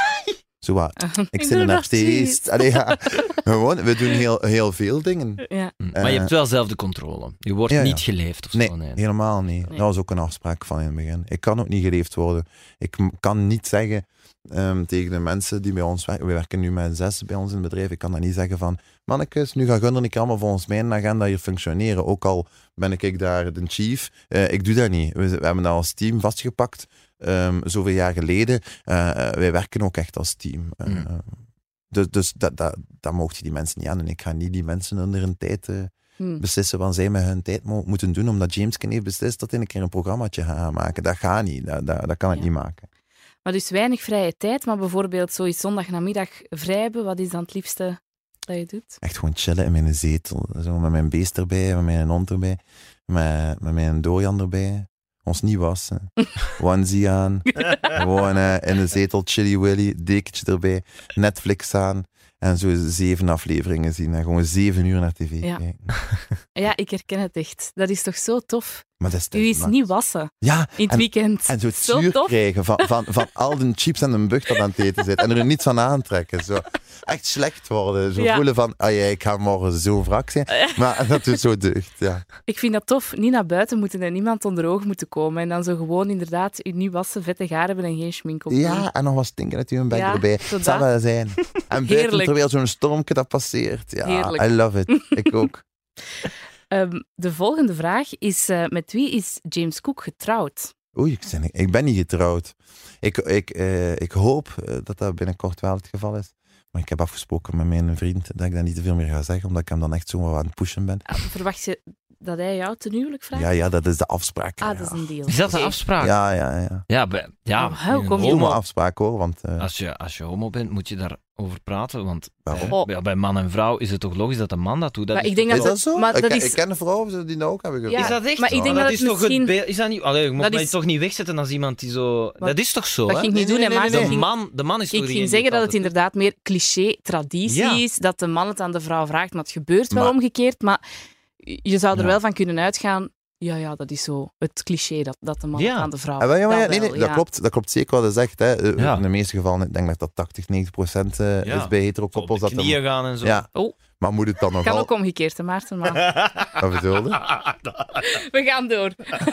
Zo wat. Ik, ben
ben
een artiest. Allee, ja. Gewoon, we doen heel, heel veel dingen.
Ja,
Hm. maar je hebt wel zelf de controle. Je wordt
Eh. ja, ja.
niet geleefd of
Nee,
zo. Nee.
helemaal niet.
Nee.
Dat was ook een afspraak van in het begin. Ik kan ook niet geleefd worden. Ik m- kan niet zeggen ehm, tegen de mensen die bij ons werken, we werken nu met zes bij ons in het bedrijf, ik kan dat niet zeggen van, mannekes, nu gaat Gunder niet allemaal volgens mijn agenda hier functioneren, ook al ben ik daar de chief. Eh, ik doe dat niet. We, z- we hebben dat als team vastgepakt, ehm, zoveel jaar geleden. Eh, eh, wij werken ook echt als team. Eh,
Mm.
eh, dus dus dat, dat, dat mocht je die mensen niet aan. En ik ga niet die mensen onder hun tijd... eh,
Hm.
beslissen wat zij met hun tijd mo- moeten doen, omdat James Ken heeft beslist dat hij een keer een programmaatje gaat gaan maken. Dat gaat niet, dat, dat, dat kan ik
Ja.
niet maken.
Maar dus weinig vrije tijd, maar bijvoorbeeld zoiets zondagnamiddag vrij hebben, wat is dan het liefste? dat je doet?
Echt gewoon chillen in mijn zetel. Zo met mijn beest erbij, met mijn hond erbij, met, met mijn dojan erbij. Ons niet wassen. Onesie aan. gewoon eh, in de zetel, chili willy, dekentje erbij, Netflix aan. En zo zeven afleveringen zien en gewoon zeven uur naar tv
Ja.
kijken.
Ja, ik herken het echt. Dat is toch zo tof?
Maar dat is toch
U is
maar-
niet wassen
Ja,
in het
en,
weekend.
en zo het
zo
zuur
tof.
krijgen van, van, van al de chips en de bug dat aan het eten zit. En er niets van aantrekken. Zo. Echt slecht worden. Zo
Ja.
voelen van, ah ja, ik ga morgen zo wrak zijn. Maar dat doet zo deugd, ja.
Ik vind dat tof. Niet naar buiten moeten en niemand onder oog moeten komen. En dan zo gewoon inderdaad je niet wassen, vette garen hebben en geen schmink op. doen.
Ja, en nog wat stinken uit uw bek
Ja,
erbij.
zo
Het zal
dat.
wel zijn. En buiten
Heerlijk.
terwijl zo'n stormje dat passeert. Ja,
Heerlijk.
I love it. Ik ook.
Ehm, de volgende vraag is: eh, met wie is James Cook getrouwd?
Oei, ik ben, ik ben niet getrouwd. Ik, ik, eh, ik hoop eh, dat dat binnenkort wel het geval is. Maar ik heb afgesproken met mijn vriend dat ik dat niet te veel meer ga zeggen, omdat ik hem dan echt zo wat aan het pushen ben.
Ah, verwacht je dat hij jou ten huwelijk vraagt?
Ja, ja, dat is de afspraak.
ah,
ja.
dat is een deal.
Is dat de
Oké.
afspraak?
Ja, ja, ja.
Ja, be- ja.
Oh, hoe kom je
homo-
Domme afspraak hoor, want eh,
Als je, als je homo bent, moet je daarover praten. Want
waarom?
Oh.
ja, bij man en vrouw is het toch logisch dat de man dat doet? Dat
Maar
is
ik denk
Is
dat,
dat zo?
Maar
ik,
dat
ken-
is,
ik ken vrouwen die dat ook hebben gedaan.
Ja.
Is dat echt?
Maar ik
denk
Nou,
dat
het
is toch
misschien-
het beeld. Is dat niet? Allee, je
Dat
moet mij
is-
toch niet wegzetten als iemand die zo. Dat is toch zo?
dat
hè?
ging ik niet
Nee,
doen,
nee,
hè, maar
nee, nee,
ik
De
nee.
ging-
man, de man is
ik
toch
ging
degene
zeggen
die
dat het
altijd-
inderdaad meer cliché-traditie
Ja.
is, dat de man het aan de vrouw vraagt, maar het gebeurt wel
Maar-
omgekeerd. Maar je zou er
Ja.
wel van kunnen uitgaan, ja, ja, dat is zo het cliché dat, dat de man
Ja.
het aan de vrouw
Ah, wel, ja, maar ja,
Dat
nee, nee,
wel,
dat,
ja.
klopt, dat klopt zeker wat je zegt. Hè. Eh,
Ja.
In de meeste gevallen, ik denk dat dat 80, 90 procent eh,
Ja.
is bij heterokoppels.
Op de
dat
knieën gaan en zo.
ja.
Oh.
Maar moet het dan nog
Kan
al...
ook omgekeerd, hè, Maarten, maar
Wat bedoel je?
we gaan door.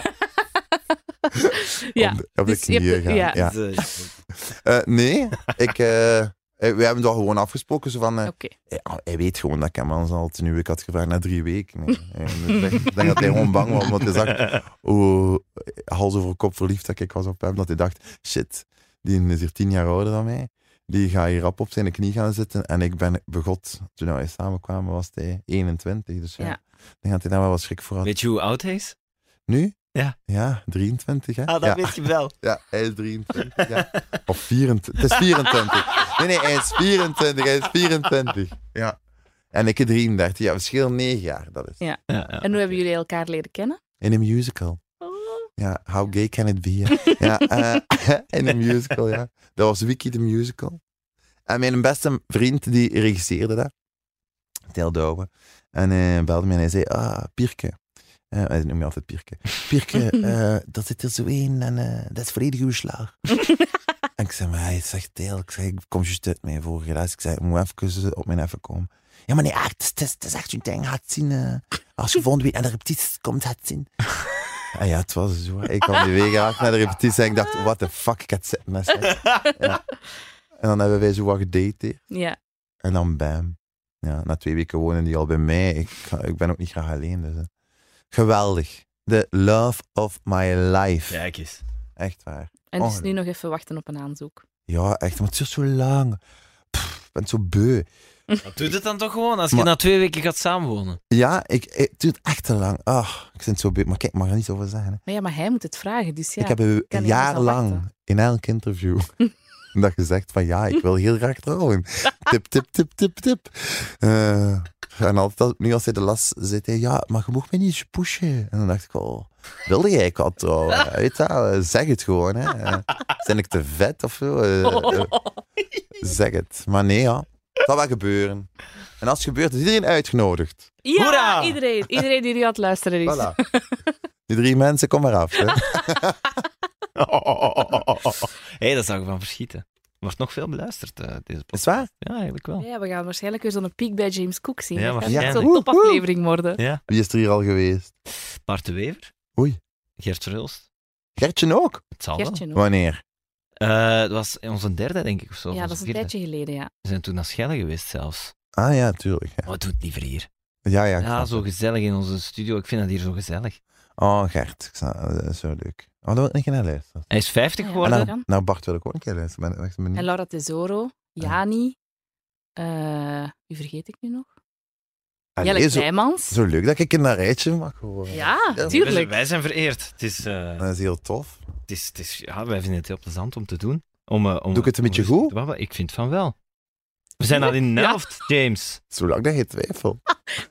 ja,
Op de, op de
dus je hebt-
knieën gaan.
ja.
Ja.
Dus,
Eh, nee, ik, eh, eh, we hebben dat gewoon afgesproken. Zo van, eh,
oké.
hij, hij weet gewoon dat ik hem anders al ten uur had gevraagd na drie weken. Nee. Eh, dus ik denk dat hij gewoon bang was, want hij zag hoe eh, hals over kop verliefd dat ik was op hem. Dat hij dacht, shit, die is hier tien jaar ouder dan mij. Die gaat hier rap op zijn knie gaan zitten. En ik ben begot. Toen wij samenkwamen was hij 21. Dus ja,
Ja.
ik denk dat hij daar wel wat schrik voor had.
Weet je hoe oud hij is?
Nu?
Ja.
Ja, 23
Ah,
hè? ja.
weet Ah, je wel.
Ja, hij is 23. Ja. Of 24. Het is 24. Nee, nee, hij is 24. Hij is 24. Ja. En ik 33. Ja, verschil 9 jaar, dat is.
Ja. En hoe hebben jullie elkaar leren kennen?
In een musical. Ja, how gay can it be? hè? Oh. Ja, eh, in een musical, ja. Dat was Wiki de Musical. En mijn beste vriend, die regisseerde dat. Tel Douwe. En eh belde mij en hij zei, ah, Pierke. Eh, hij noemt me altijd Pierke. Pierke, eh, dat zit er zo in en eh, dat is volledig uw slag. en ik zei, maar hij zegt Tel, ik, zei, ik kom juist uit mijn vorige les. Ik zei, ik moet even eh, op mijn even komen. Ja, maar nee, ah, het is- het is, het is echt zo'n ding, gaat zien. eh, als je volgende week naar de repetitie komt, gaat zien. Ah ja, het was zo. Ik kwam die week geraakt naar de repetitie en ik dacht, what the fuck, ik had zet met seks. Ja. En dan hebben wij zo wat gedate hier.
Ja,
En dan bam. Ja, na twee weken wonen die al bij mij. Ik, ga- ik ben ook niet graag alleen. Dus, hè. Geweldig. The love of my life.
Kijk eens.
Echt waar.
en dus nu
Ongelooflijk.
nog even wachten op een aanzoek.
Ja, echt. Maar het is zo lang. Pff, ik ben zo beu.
Dat doet het dan toch gewoon als je
Maar-
na twee weken gaat samenwonen?
Ja, ik, het duurt echt te lang. Ah, ik ben zo beu. Maar kijk, ik mag er niet over zeggen. hè.
Maar ja, maar hij moet het vragen, dus ja.
ik heb een
kan
een
niet anders
jaar
dan
lang
wachten.
in elk interview dat gezegd van ja, ik wil heel graag trouwen. Tip, tip, tip, tip, tip. Eh, en altijd als, nu als hij de last zit, hij ja, maar je mag mij niet pushen. En dan dacht ik, oh, wilde jij ik al trouwen? Weet je wel, eh, zeg het gewoon. Hè. Eh, Zijn ik te vet of zo? Eh,
Oh.
eh, zeg het. Maar nee, ja. Dat wel gebeuren. En als het gebeurt, is iedereen uitgenodigd.
Ja,
Hoera!
iedereen. Iedereen die nu aan het luisteren is.
Voilà. Die drie mensen, kom maar af. Hè.
Hé, dat zou ik van verschieten. Wordt nog veel beluisterd, eh, deze podcast.
Is waar?
Ja, eigenlijk wel.
Ja, we gaan waarschijnlijk weer zo'n piek bij James Cook zien.
Oh. Ja,
Ja, dat gaat echt
waarschijnlijk.
zo'n topaflevering worden.
Wie is er hier al geweest?
Bart de Wever.
Oei.
Gert Verhulst.
Gertje ook?
Het zal wel.
Gertje nog.
Wanneer?
Eh, het was onze derde, denk ik, of zo. of
Ja, dat
onze
is een
vierde.
tijdje geleden, ja.
We zijn toen naar Schelle geweest zelfs.
Ah ja, tuurlijk. Ja,
Maar het doet liever hier.
ja. ja, ik
Ja,
snap
zo gezellig in onze studio. Ik vind dat hier zo gezellig.
het. Oh, Gert. Ik snap, dat is zo leuk. Oh, dat wil ik niet naar luisteren.
Hij is
Ah,
50
Ja.
En
geworden.
Worden?
nou, nou, Bart wil ik ook een keer luisteren. Ben, wacht, ben
En
benieuwd.
Laura Tesoro, Jani, eh wie vergeet ik nu nog?
Allee,
Jelle
zo,
Kleimans.
zo leuk dat ik in dat rijtje mag horen.
Ja,
Ja,
Wij zijn-
tuurlijk.
Wij zijn vereerd. Het is, eh,
Dat is heel tof.
het is, het is, ja, wij vinden het heel plezant om te doen. Om, eh, om,
Doe ik het een
om
beetje
rustig
goed?
te babbelen. Ik vind van wel. We zijn al in de helft, James.
Zolang dat je twijfelt.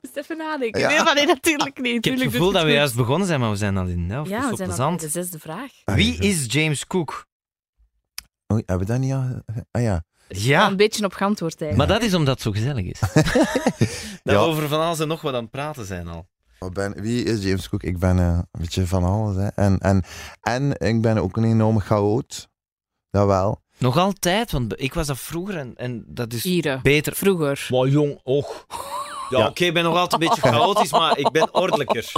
Moest even nadenken.
Ja.
Nee, maar nee, natuurlijk niet.
Ik heb het
Tuurlijk
gevoel
doet
dat we
het
juist begonnen zijn, maar we zijn al in de helft.
goed.
dat
Ja,
is
we
zo
zijn al bij
plezant.
de zesde vraag.
Wie is James Cook?
Oei, Oh, hebben we dat niet al... Ah ja.
Al
Ja,
Een beetje op geantwoord
maar
eigenlijk.
dat is omdat het zo gezellig is.
Ja.
Dat we over van alles en nog wat aan het praten zijn al.
Wat ben, wie is James Cook? Ik ben eh, een beetje van alles. Hè. En, en, en ik ben ook een enorme chaot. Dat wel.
Nog altijd, want ik was dat vroeger en, en dat is
Hier,
beter.
vroeger.
Wow, jong, och. Ja, oké, ik ben nog altijd een beetje chaotisch, maar ik ben ordelijker.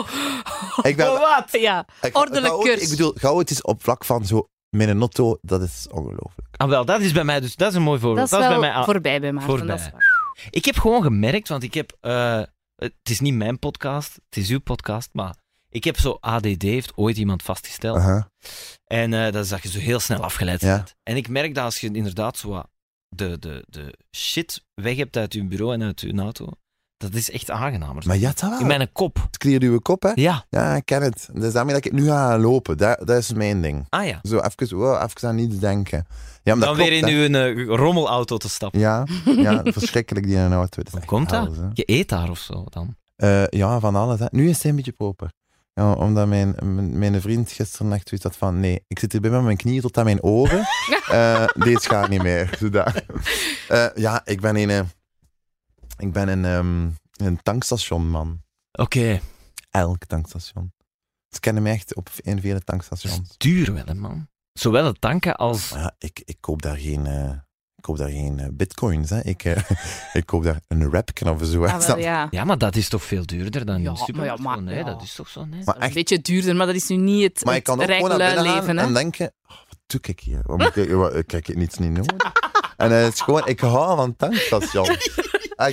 Ik ben,
Oh, wat? Ja,
ik,
ordelijk
chaot-
kurs.
Ik bedoel, chaot is op vlak van zo mijn notto. Dat is ongelooflijk.
Ah, wel, dat is bij mij dus, dat is een mooi
dat
voorbeeld.
is wel
bij mij al-
voorbij bij Maarten.
Voorbij.
Dat is waar.
Ik heb gewoon gemerkt, want ik heb. eh, het is niet mijn podcast, het is uw podcast, maar ik heb zo ADD, heeft ooit iemand vastgesteld.
Oh.
Aha.
En eh, dat is dat je zo heel snel afgeleid
Ja.
bent. En ik merk dat als je inderdaad zo wat de, de, de shit weg hebt uit je bureau en uit je auto, dat is echt aangenamer.
Maar ja, dat wel.
In mijn kop.
Het kleert uw kop, hè?
Ja.
Ja, ik ken het. Dus daarmee dat ik nu ga lopen. Dat, dat is mijn ding.
Ah ja.
Zo even, wow, even aan niets denken. Ja, maar
Dan
dat
weer
klopt,
in
hè.
uw eh, rommelauto te stappen.
Ja, ja, verschrikkelijk die in een auto. Dat is
Hoe
echt
komt dat?
hels, hè.
Je eet daar of zo dan.
Eh, ja, van alles. Hè. Nu is hij een beetje proper. Ja, omdat mijn, mijn, mijn vriend gisteren echt zoiets had van... Nee, ik zit hier bij met mijn knieën tot aan mijn oren. Eh dit gaat niet meer. Zodat. Eh, ja, ik ben een... eh, Ik ben een, ehm, een tankstation, man.
Oké.
Elk tankstation. Ze kennen mij echt op, in vele tankstations.
Duur wel, hè, man. Zowel het tanken als.
Maar ja, ik, ik koop daar geen... eh, ik koop daar geen eh, bitcoins, hè. Ik, eh, ik koop daar een rapken of zo.
Ah, wel, ja.
Ja, maar dat is toch veel duurder dan
Ja,
in de supermarkt?
maar ja, maar-
gewoon, hè?
ja.
Dat is toch zo, nee?
Maar
Dat is
echt,
Een beetje duurder, maar dat is nu niet het,
Maar
het
ik kan ook
rijk
gewoon naar binnen
lui-leven,
gaan
hè.
en denken... oh, wat doe ik hier? Wat moet ik, wat, ik heb niets niet nodig. En eh, het is gewoon... Ik hou van tankstation. ik,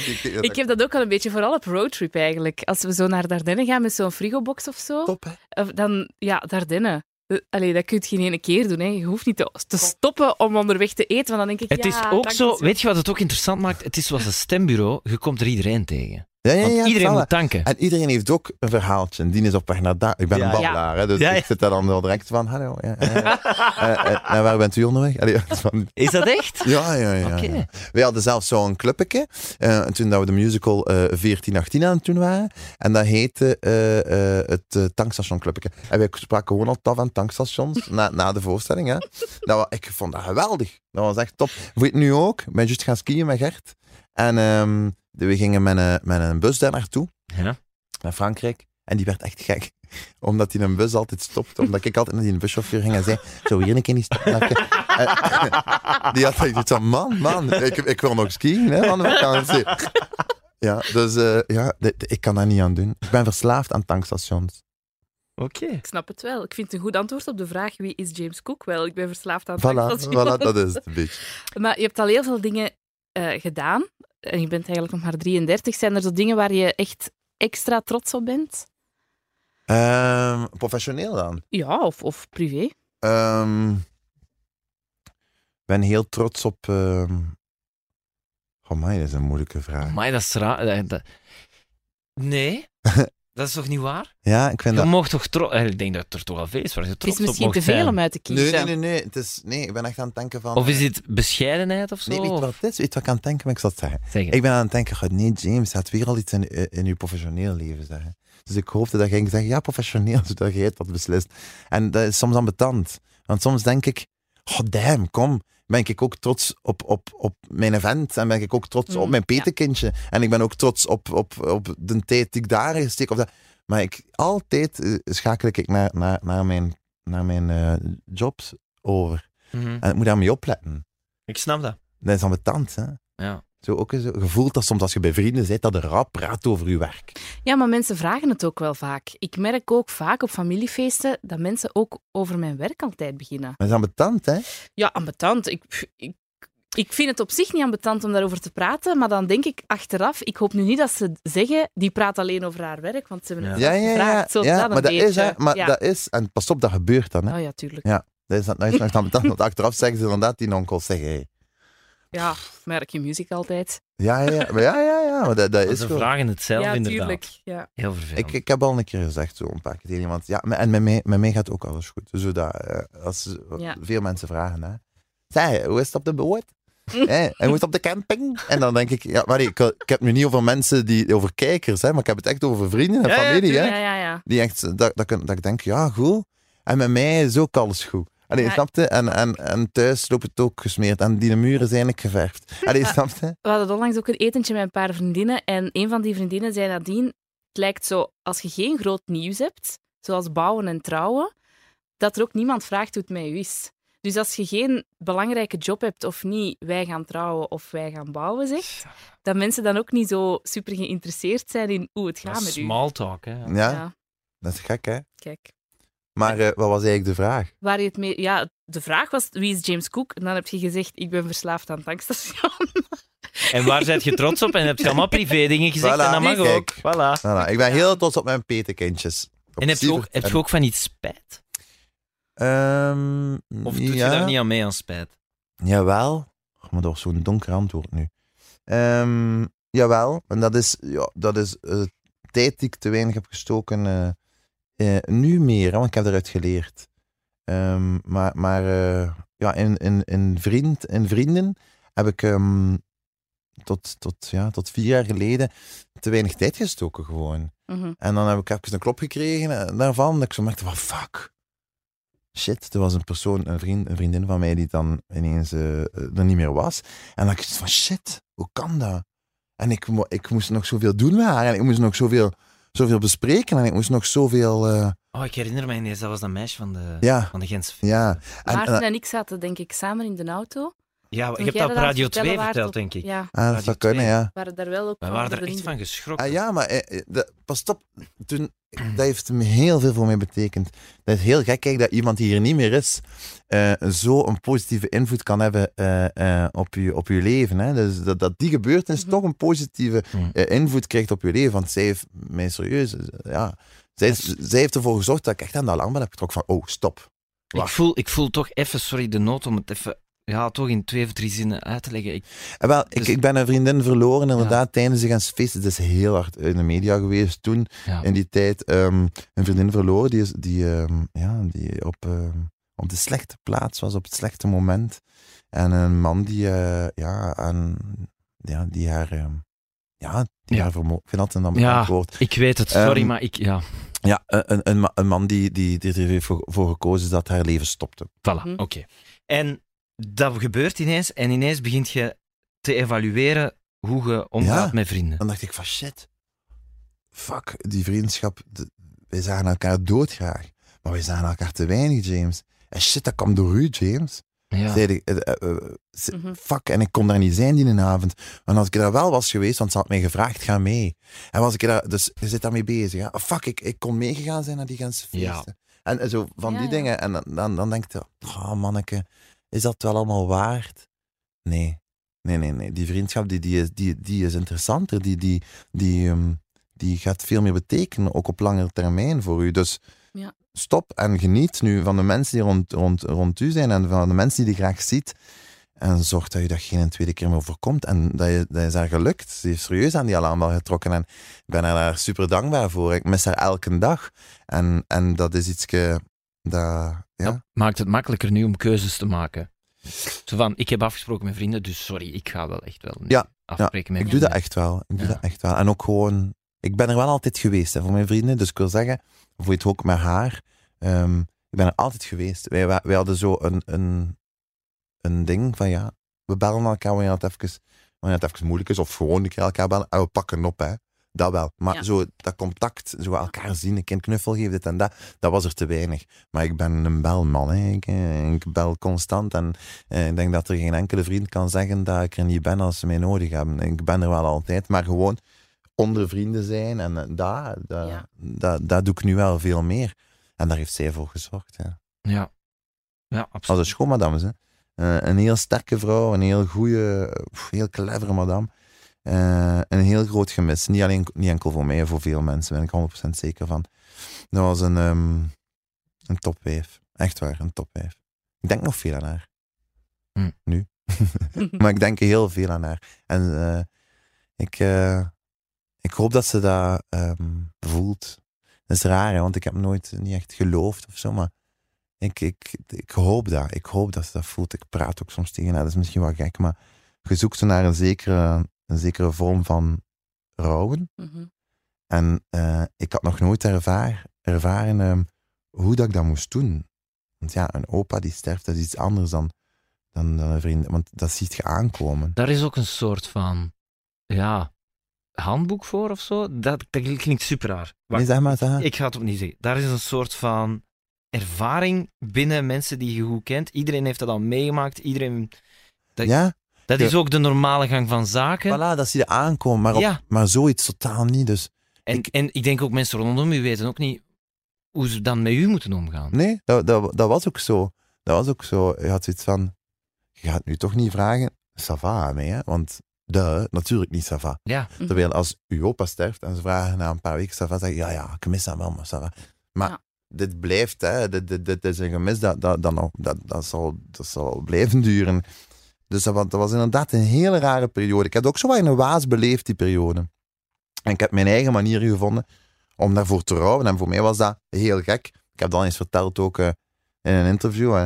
ik, ik-
Ik heb dat ook al een beetje, vooral op roadtrip eigenlijk. Als we zo naar Dardenne gaan met zo'n frigobox of zo,
Top, hè?
eh, dan, ja, Dardenne. Eh, Allee, dat kun je geen ene keer doen. Hè. Je hoeft niet te, te stoppen om onderweg te eten, want dan denk ik,
Het
ja,
is ook
dank
zo,
je wel.
weet je wat het ook interessant maakt? Het is zoals een stembureau, je komt er iedereen tegen.
Ja, ja,
Want
ja.
iedereen
voilà.
moet tanken.
En iedereen heeft ook een verhaaltje. Die is op weg naar daar. Ik ben
Ja.
een babbelaar, hè, dus
Ja, ja.
ik zit daar dan wel direct van... Hallo, ja, ja, ja. Eh, eh, naar waar bent u onderweg? Allee, van-
Is dat echt?
Ja, ja, ja.
Oké.
ja. We hadden zelfs zo'n clubje, eh, toen dat we de musical eh 1418 aan het doen waren. En dat heette eh, eh, het eh, tankstation clubje. En wij spraken gewoon al taf aan tankstations na, na de voorstelling. Hè. Dat wa- ik vond dat geweldig. Dat was echt top. Voor het nu ook, ik ben juist gaan skiën met Gert. En ehm, de- we gingen met een, met een bus daar naartoe,
Ja.
naar Frankrijk. En die werd echt gek, omdat hij een bus altijd stopte. Omdat ik altijd naar die buschauffeur ging en zei, zo hier een keer niet stoppen. En- die had echt iets van, man, man, ik, ik wil nog skiën hè, van de vakantie. Ja, dus eh, ja, dit- ik kan daar niet aan doen. Ik ben verslaafd aan tankstations.
Oké.
Ik snap het wel. Ik vind het een goed antwoord op de vraag wie is James Cook wel. Ik ben verslaafd aan
Voilà,
tankstations.
voilà, dat is het een beetje.
Maar je hebt al heel veel dingen eh, gedaan. En je bent eigenlijk nog maar 33. Zijn er zo dingen waar je echt extra trots op bent?
Ehm, professioneel dan.
Ja, of, of privé?
Ehm, Ik ben heel trots op... ehm Oh my, dat is een moeilijke vraag.
Maar dat is raar. eh, dat- Nee, dat is toch niet waar?
Ja, ik vind
Je
dat...
mag toch trots... Ik denk dat er toch wel veel is waar je
Het is
trots op
misschien
mocht
te veel
zijn.
om uit te kiezen.
Nee, nee, nee, nee, het is, nee, ik ben echt aan het denken van...
Of is dit bescheidenheid of zo?
Nee, weet je wat het is? Weet je wat ik aan het denken ben? Ik zal het zeggen.
Zeg het.
Ik ben aan het denken, God, nee James, gaat weer al iets in, eh, in je professioneel leven zeggen. Dus ik hoopte dat jij ging zeggen, ja, professioneel, zodat jij dat beslist. En dat is soms ambetant. Want soms denk ik, god damn, kom. Ben ik ook trots op, op, op mijn event en ben ik ook trots op
Mm,
mijn
ja.
petekindje. En ik ben ook trots op, op, op de tijd die ik daarin gesteek. Of dat. Maar ik, altijd eh, schakel ik naar, naar, naar mijn, naar mijn eh, jobs over.
Mhm.
En ik moet daarmee opletten.
Ik snap dat.
Dat is ambetant, hè.
Ja.
Zo ook zo. Je voelt dat soms als je bij vrienden zit, dat er rap praat over je werk.
Ja, maar mensen vragen het ook wel vaak. Ik merk ook vaak op familiefeesten dat mensen ook over mijn werk altijd beginnen.
Dat is ambetant, hè?
Ja, ambetant. Ik, pff, ik, ik vind het op zich niet ambetant om daarover te praten, maar dan denk ik achteraf, ik hoop nu niet dat ze zeggen, die praat alleen over haar werk, want ze hebben het
Ja, ja,
vast
ja.
gevraagd. Zo
ja,
dat een
maar dat
beetje.
is, hè. Maar
ja.
dat is, en pas op, dat gebeurt dan, hè.
Oh ja, tuurlijk.
Ja. Dat is dat nou is het echt ambetant, want achteraf zeggen ze inderdaad, die onkels zeggen, hey.
Ja, merk je muziek altijd.
Ja, ja, ja, maar ja, ja, ja, maar dat, dat
Maar
is
Ze
gewoon...
vragen het zelf
ja,
inderdaad.
tuurlijk. Ja.
Heel vervelend.
Ik, ik heb al een keer gezegd, zo een paar keer tegen iemand, ja, maar- en met mij, met mij gaat ook alles goed. Zodat, eh, als
Ja.
veel mensen vragen, hè. Zeg, hoe is het op de boot? Hè, hij moet op de camping. En dan denk ik, ja, maar ik, ik heb nu niet over mensen, die, over kijkers, hè, maar ik heb het echt over vrienden en
Ja, ja,
familie. hè,
Ja, ja, ja.
die echt, dat, dat, kun- dat ik denk, ja, goed. En met mij is ook alles goed. Allee,
Ja.
snapte? En, en, en thuis loopt het ook gesmeerd. En die muren zijn eigenlijk geverfd. Allee, snapte?
We hadden onlangs ook een etentje met een paar vriendinnen. En een van die vriendinnen zei nadien: Het lijkt zo, als je geen groot nieuws hebt, zoals bouwen en trouwen, dat er ook niemand vraagt hoe het met u is. Dus als je geen belangrijke job hebt of niet, wij gaan trouwen of wij gaan bouwen, zegt, dat mensen dan ook niet zo super geïnteresseerd zijn in hoe het gaat
Dat is
met u.
small talk, hè.
Ja,
Ja,
dat is gek, hè?
kijk.
Maar eh, wat was eigenlijk de vraag?
Waar je het mee... Ja, de vraag was, wie is James Cook? En dan heb je gezegd, ik ben verslaafd aan tankstation.
En waar zijt je trots op? En heb je allemaal privé dingen gezegd
Voilà,
en dat mag
kijk.
ook. Voilà.
Voilà, Nou, ik ben heel trots op mijn petekindjes. Op
En heb je, ook,
Sievert
heb je
en-
ook van iets spijt?
Ehm,
Of doet
ja.
je daar niet aan mee aan spijt?
Jawel. Oh, maar dat was zo'n donker antwoord nu. Ehm, jawel. En dat is, ja, dat is eh, tijd die ik te weinig heb gestoken. eh, eh, nu meer, hè, want ik heb eruit geleerd. Ehm, maar maar eh, ja, in, in, in, vriend, in vrienden heb ik ehm, tot, tot, ja, tot vier jaar geleden te weinig tijd gestoken gewoon.
Mhm.
En dan heb ik even een klop gekregen eh, daarvan. Dat ik zo merkte, wat fuck. Shit, er was een persoon, een, vriend, een vriendin van mij die dan ineens eh, eh, er niet meer was. En dan dacht ik van, shit, hoe kan dat? En ik, mo- ik moest nog zoveel doen met haar. En ik moest nog zoveel, zoveel bespreken. En ik moest nog zoveel... eh,
Oh, ik herinner me ineens, dat was dat meisje van de,
ja,
van de Gens.
ja. En,
Maarten
en, ah, eh,
en ik zaten denk ik samen in de auto.
Ja,
Toen
je hebt
jij
dat op
dat aan
Radio
het
2
vertellen
verteld,
waard
denk ik.
Ja,
ah, dat
Radio
zou kunnen,
2.
ja.
waren daar wel ook
We
van
waren er echt
vrienden.
van geschrokken.
Ah, ja, maar eh, eh, dat, pas op. Toen, dat heeft me heel veel voor mij betekend. Dat is heel gek, kijk, dat iemand die hier niet meer is, eh, zo een positieve invloed kan hebben eh, eh, op, je, op je leven. Hè? Dus dat, dat die gebeurtenis
Mhm.
toch een positieve
Mhm.
eh, invloed krijgt op je leven. Want zij heeft mij serieus, eh, ja, zij, zij heeft ervoor gezorgd dat ik echt aan de alarmbel heb getrokken van, oh, stop.
Ik voel, ik voel toch even, sorry, de nood om het even ja, toch in twee of drie zinnen uit te leggen. Ik,
En wel, ik,
Dus-
ik ben een vriendin verloren, inderdaad, tijdens de feest. Het is heel hard in de media geweest toen.
ja.
in die tijd ehm, een vriendin verloren die, is, die, ehm, ja, die op, ehm, op de slechte plaats was, op het slechte moment. En een man die, eh, ja, aan, ja, die haar, ehm, ja, die
Ja.
haar vermoord. Ik vind dat een
Ja.
ambetant woord.
ik weet het, sorry,
Ehm,
maar ik, ja,
Ja, een, een, ma- een man die, die, die er heeft voor, voor gekozen is dat haar leven stopte.
voilà,
Hm.
oké. En dat gebeurt ineens en ineens begint je te evalueren hoe je omgaat
Ja.
met vrienden.
Dan dacht ik van shit, fuck, die vriendschap, de- wij zagen elkaar doodgraag. Maar wij zagen elkaar te weinig, James. En shit, dat kwam door u, James.
Ja.
Zeiden, eh, eh, eh, ze-
Mhm.
fuck, en ik kon daar niet zijn die een avond. En als ik daar wel was geweest, want ze had mij gevraagd, ga mee. En was ik daar, dus je zit daarmee bezig. Hè? Ah, Fuck, ik, ik kon meegegaan zijn naar die ganse
Ja.
feesten. En eh, zo van
Ja,
die
ja.
dingen. En dan, dan, dan denk je, oh manneke, is dat wel allemaal waard? Nee. Nee, nee, nee. Die vriendschap, die, die, is, die, die is interessanter. Die, die, die, ehm, die gaat veel meer betekenen, ook op langere termijn voor u. Dus
Ja.
stop en geniet nu van de mensen die rond, rond, rond u zijn en van de mensen die je graag ziet. En zorg dat je dat geen tweede keer meer voorkomt. En dat, je, dat is haar gelukt. Ze heeft serieus aan die alarmbel getrokken. En ik ben haar daar super dankbaar voor. Ik mis haar elke dag. En, en dat is iets dat... Ja.
Dat maakt het makkelijker nu om keuzes te maken. Zo van, ik heb afgesproken met vrienden, dus sorry, ik ga wel echt wel nu
Ja,
afspreken met
Ik doe dat
vrienden.
echt wel. Ik doe
Ja.
dat echt wel. En ook gewoon, ik ben er wel altijd geweest hè, voor mijn vrienden. Dus ik wil zeggen, voor het ook met haar. ehm, ik ben er altijd geweest. Wij, wa- wij hadden zo een, een, een ding van ja, we bellen elkaar wanneer het even, wanneer het even moeilijk is. Of gewoon een keer elkaar bellen en we pakken op, hè. Dat wel. Maar
Ja.
zo dat contact, zo elkaar zien, een kind knuffel geven, dit en dat, dat was er te weinig. Maar ik ben een belman, hè. Ik, eh, ik bel constant en eh, Ik denk dat er geen enkele vriend kan zeggen dat ik er niet ben als ze mij nodig hebben. Ik ben er wel altijd, maar gewoon onder vrienden zijn en eh, daar, daar,
Ja.
daar, daar doe ik nu wel veel meer. En daar heeft zij voor gezorgd. Ja.
Ja, ja
Als een
absoluut.
schoonmadam is, hè. Eh, een heel sterke vrouw, een heel goede, heel clevere madame. Eh, een heel groot gemis. Niet, alleen, niet enkel voor mij, voor veel mensen ben ik 100% zeker van. Dat was een, ehm een topwijf. Echt waar, een topwijf. Ik denk nog veel aan haar.
Hm.
Nu. maar ik denk heel veel aan haar. En eh, ik, eh, ik hoop dat ze dat ehm, voelt. Dat is raar, hè, want ik heb nooit niet echt geloofd of zo, maar ik, ik, ik hoop dat. Ik hoop dat ze dat voelt. Ik praat ook soms tegen haar. Dat is misschien wel gek, maar je zoekt zo naar een zekere, een zekere vorm van rouwen.
Mhm.
En eh, ik had nog nooit ervaar, ervaren ehm, hoe dat ik dat moest doen. Want ja, een opa die sterft, dat is iets anders dan, dan, dan een vriend. Want dat ziet je aankomen.
Daar is ook een soort van ja, handboek voor of zo. Dat, dat klinkt super raar. Wacht,
Nee, zeg maar, zeg maar.
Ik ga het opnieuw zeggen. Daar is een soort van ervaring binnen mensen die je goed kent. Iedereen heeft dat al meegemaakt. Iedereen... ik-
ja,
Dat
Ja.
is ook de normale gang van zaken.
voilà, dat zie je aankomen. Maar, op,
Ja.
maar zoiets totaal niet. Dus
En ik, en ik denk ook mensen rondom u weten ook niet hoe ze dan met u moeten omgaan.
Nee, dat, dat, dat was ook zo. Dat was ook zo. Je had zoiets van, je gaat nu toch niet vragen, Sava aan mij, hè? Want de, natuurlijk niet Sava.
Ja.
Terwijl als uw opa sterft en ze vragen na een paar weken Sava, zeg je, ja, ja, ik mis dat wel, maar Sava. Maar
Ja.
dit blijft, hè. Dit, dit, dit is een gemis, dat, dat, dat, nog- dat, dat, zal, dat zal blijven duren. Dus dat, wa- dat was inderdaad een hele rare periode. Ik heb het ook zo wat in een waas beleefd, die periode. En ik heb mijn eigen manier gevonden om daarvoor te rouwen. En voor mij was dat heel gek. Ik heb dat al eens verteld ook eh, in een interview. eh.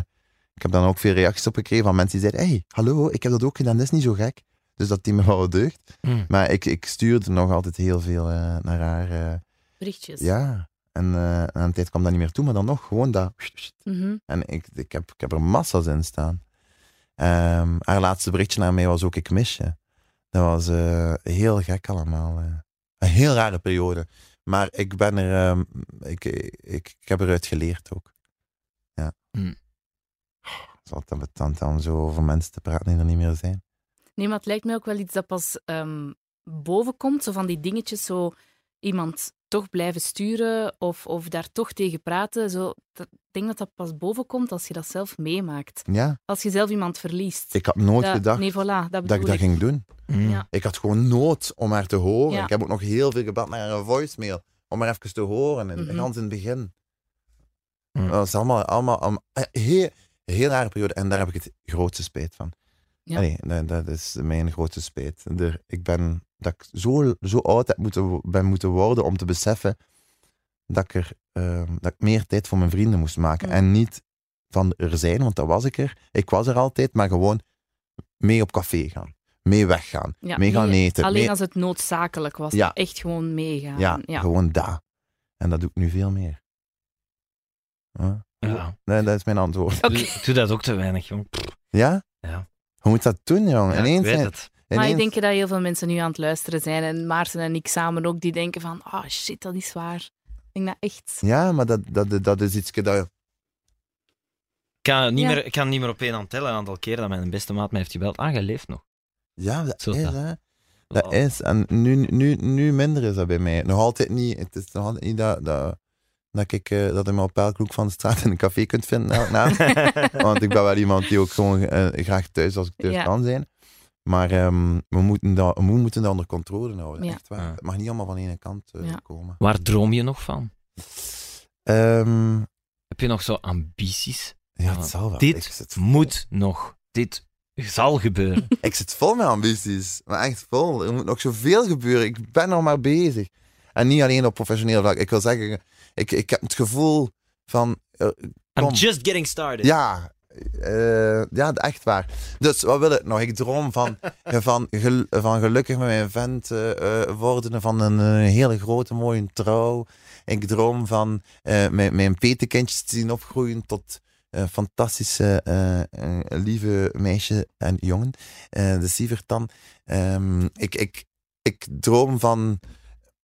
ik heb dan ook veel reacties op gekregen van mensen die zeiden: hey, hallo, ik heb dat ook gedaan, dat is niet zo gek. Dus dat die me wel deugd.
Mm.
Maar ik, ik stuurde nog altijd heel veel eh, naar haar. eh,
Berichtjes.
ja. En eh, aan een tijd kwam dat niet meer toe, maar dan nog gewoon dat.
Mhm.
En ik, ik, heb, ik heb er massa's in staan. Ehm, haar laatste berichtje naar mij was ook ik mis je. Dat was eh, heel gek allemaal. eh. Een heel rare periode. Maar ik ben er, ehm, ik, ik, ik heb eruit geleerd ook. Ja.
Hm.
Het is altijd betant om zo over mensen te praten die er niet meer zijn.
Nee, maar het lijkt mij ook wel iets dat pas ehm, boven komt. Zo van die dingetjes, zo iemand toch blijven sturen of, of daar toch tegen praten. Zo, dat- ik denk dat dat pas boven komt als je dat zelf meemaakt.
Ja,
Als je zelf iemand verliest.
ik had nooit
Dat-
gedacht
Nee, voilà, dat
dat ik
bedoel
dat
ik.
ging doen.
Mm.
Ja.
Ik had gewoon nood om haar te horen.
Ja.
Ik heb ook nog heel veel gebeld naar een voicemail. Om haar even te horen. En
Mhm.
gans in het begin.
Mm.
Dat was allemaal, allemaal, allemaal- eh, heel, heel rare periode. En daar heb ik het grootste spijt van.
Ja.
Allee, dat, dat is mijn grootste spijt. Er- ik ben, dat ik zo, zo oud heb moeten, wo- ben moeten worden om te beseffen dat ik, er, ehm, dat ik meer tijd voor mijn vrienden moest maken.
Mm.
En niet van er zijn, want dat was ik er. Ik was er altijd, maar gewoon mee op café gaan. Mee weggaan.
Ja,
mee gaan
nee,
eten.
Alleen
mee-
als het noodzakelijk was.
Ja.
Echt gewoon meegaan.
ja,
Ja,
gewoon daar. En dat doe ik nu veel meer. Huh?
Ja.
Nee, dat is mijn antwoord.
Oké.
Doe, doe dat ook te weinig, jong.
Ja?
Ja.
Hoe moet dat doen, jong?
Ja, ik
ineens,
weet het.
Maar ik
ineens-
denk dat heel veel mensen nu aan het luisteren zijn. En Maarten en ik samen ook, die denken van... Ah, shit, dat is waar. Ik denk dat echt...
Ja, maar dat, dat, dat is iets dat...
Ik kan, niet
Ja.
meer, ik kan niet meer op één hand tellen, een aantal keren dat mijn beste maat mij heeft gebeld. Ah, je leeft nog.
Ja, dat
Zo is
is,
dat. Oh,
hè. Dat
Wow.
is. En nu, nu, nu minder is dat bij mij. Nog altijd niet. Het is nog altijd niet dat, dat, dat ik eh, dat je me op elke hoek van de straat in een café kunt vinden. elke avond. Want ik ben wel iemand die ook gewoon eh, graag thuis als ik thuis
Ja.
kan zijn. Maar ehm, we, moeten dat, we moeten dat onder controle houden.
Ja.
Echt waar.
Ja.
Het mag niet allemaal van de ene kant eh,
Ja.
komen.
Waar droom je nog van?
Ehm,
Heb je nog zo ambities?
ja,
Ja.
het zal wel. Ik
Dit
zit,
moet nog. Dit zal gebeuren.
ik zit vol met ambities. Maar echt vol. Er moet nog zoveel gebeuren. Ik ben nog maar bezig. En niet alleen op professioneel vlak. Ik wil zeggen, ik, ik heb het gevoel van... eh,
I'm
Kom.
just getting started.
Ja, eh, ja, echt waar. Dus wat wil ik nog? Ik droom van, van, gel- van gelukkig met mijn vent eh, eh, worden, van een eh, hele grote mooie trouw. Ik droom van eh, mijn, mijn petekindjes te zien opgroeien tot eh, fantastische, eh, eh, lieve meisje en jongen, eh, de Sievertan. Ehm, ik, ik, ik droom van,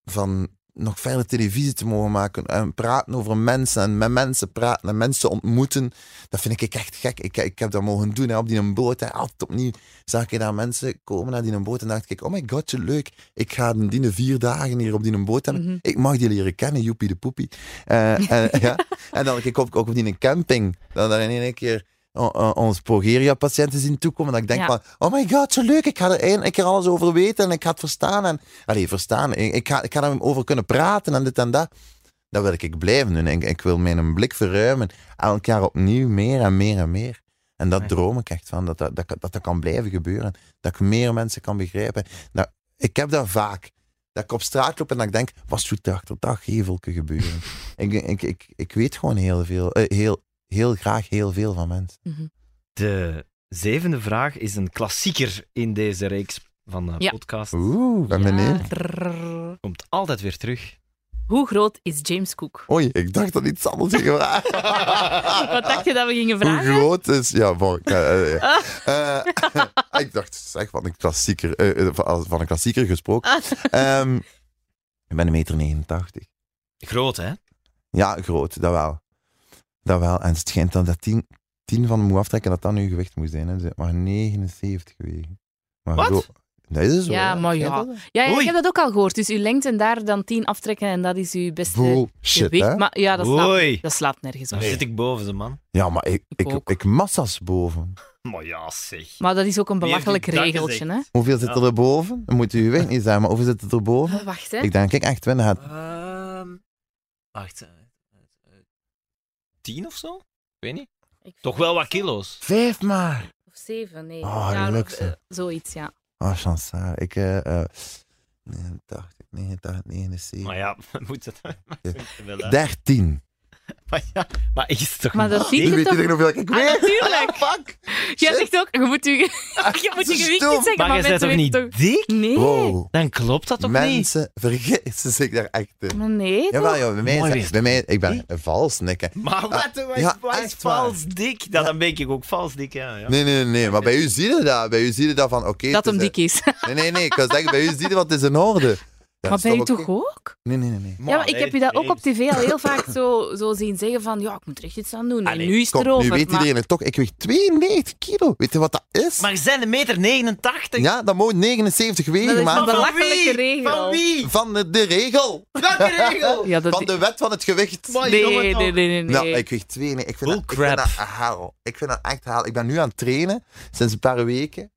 van nog verder televisie te mogen maken en praten over mensen en met mensen praten en mensen ontmoeten. Dat vind ik echt gek. Ik, ik heb dat mogen doen hè, op die een boot. Hè. Altijd opnieuw zag ik daar mensen komen naar die een boot en dacht ik, oh my god, zo leuk. Ik ga die- die vier dagen hier op die een boot hebben.
Mhm.
Ik mag die leren kennen, joepie de poepie. Eh, en, ja. en dan ik ook, ook op die een camping. Dan daar in één keer o- o- ons progeria-patiënten zien toekomen. Dat ik denk
Ja.
van, oh my god, zo leuk. Ik ga er één keer alles over weten en ik ga het verstaan. En, allee, verstaan. Ik, ik ga, ik ga daarover kunnen praten en dit en dat. Dat wil ik blijven doen. Ik, ik wil mijn blik verruimen. Elk jaar opnieuw meer en meer en meer. En dat droom ik echt van, dat dat, dat, dat dat kan blijven gebeuren. Dat ik meer mensen kan begrijpen. Dat, ik heb dat vaak. Dat ik op straat loop en dat ik denk, wat doet dag tot dag gevelke gebeuren? ik, ik, ik, ik weet gewoon heel veel, eh, heel, heel graag heel veel van mensen.
De zevende vraag is een klassieker in deze reeks van eh
Ja.
podcasts.
Oeh, ben benieuwd.
Trrr.
Komt altijd weer terug.
Hoe groot is James Cook?
Oei, ik dacht dat iets anders ging gevraagd.
Wat dacht je dat we gingen
Hoe
vragen? Ah,
groot is... Ja, bon, ik, eh, eh, eh, ik dacht, zeg, van een klassieker, eh, eh, van van een klassieker gesproken.
Ah,
Ehm, ik ben een meter 89.
Groot, hè?
Ja, groot, dat wel. Dat wel. En het schijnt dan dat 10 van moet aftrekken dat dat nu gewicht moet zijn. Hè. Dus Ze heeft maar 79 wegen. Maar
Wat?
zo- Nee, dat is zo.
Ja,
hè.
maar
Schijnt
ja.
dat?
Ja, ja,
Oei.
ik heb dat ook al gehoord. Dus uw lengte en daar dan 10 aftrekken en dat is uw beste
Bullshit,
gewicht.
hè?
Maar ja, dat slaat,
Oei.
dat slaat nergens op.
Daar zit ik boven, ze man.
Ja, maar ik,
Ik
ik, ik,
ook.
massas boven.
Maar ja, zeg.
Maar dat is ook een
Wie heeft die
belachelijk
dat
regeltje, hè?
gezegd?
Hoeveel zit
Ja.
er erboven? Dan moet u weg niet zijn, maar hoeveel zit er erboven?
Oh, wacht, hè.
Ik denk, ik echt 20 had.
Ehm, wacht. eh, eh, Tien of zo? Ik weet niet.
Ik
Toch wel wat kilo's.
Vijf maar!
Of zeven, nee.
Oh,
Ja,
leuk,
eh,
zeg.
zoiets, ja.
Ah, chansaar. Ik, eh, eh 89, 89, 79.
Maar ja, moet het maar
Ja.
wel, hè.
13.
Maar ja, maar is toch
Maar dat ziet
Nu
je
weet
toch...
iedereen hoeveel ik
Ah,
weeg.
natuurlijk.
Fuck!
Jij
Shit.
zegt ook, je moet je, je, moet je
Zo
gewicht
stom.
niet zeggen, maar,
Maar je bent
mensen
toch niet
weten
dik?
toch... Nee.
Wow.
Dan klopt dat toch niet?
Mensen vergissen zich daar echt in.
Maar nee, toch?
Jawel, joh, bij mij,
Mooi
is-
wist.
bij mij, ik ben vals, nikke.
Maar wat, wat,
Ah, ja,
wat is
echt waar.
vals dik? Dat, Dan ben ik ook vals dik, ja. ja.
Nee, nee, nee, maar bij u zie je dat. Bij u zie je dat van, oké...
dat
het
hem
is
dik is.
een- Nee, nee, nee, ik kan zeggen, bij u zie je wat het is in orde. Dat is
maar ben je
oké?
toch ook?
Nee, nee, nee. nee.
Ja, maar ik heb je dat ook op tv al heel vaak zo, zo zien zeggen van ja, ik moet er echt iets aan doen. En
Allee,
nu is het
Kom, nu
erover.
weet
maar-
iedereen het toch. Ik weeg 92 kilo. Weet je wat dat is?
Maar ze zijn een meter 89.
Ja, dat moet 79
Dat
wegen,
is
maar
een
Van
belachelijke
wie?
regel.
Van wie?
van de, de regel.
Welke regel?
Ja, dat
Van de wet van het gewicht.
Maar
Nee,
jongen,
nee,
toch.
nee, nee. nee.
Nou, ik weeg 92. Ik vind,
Bull
dat, ik vind
crap.
dat haal. Ik vind dat echt haal. Ik ben nu aan het trainen, sinds een paar weken.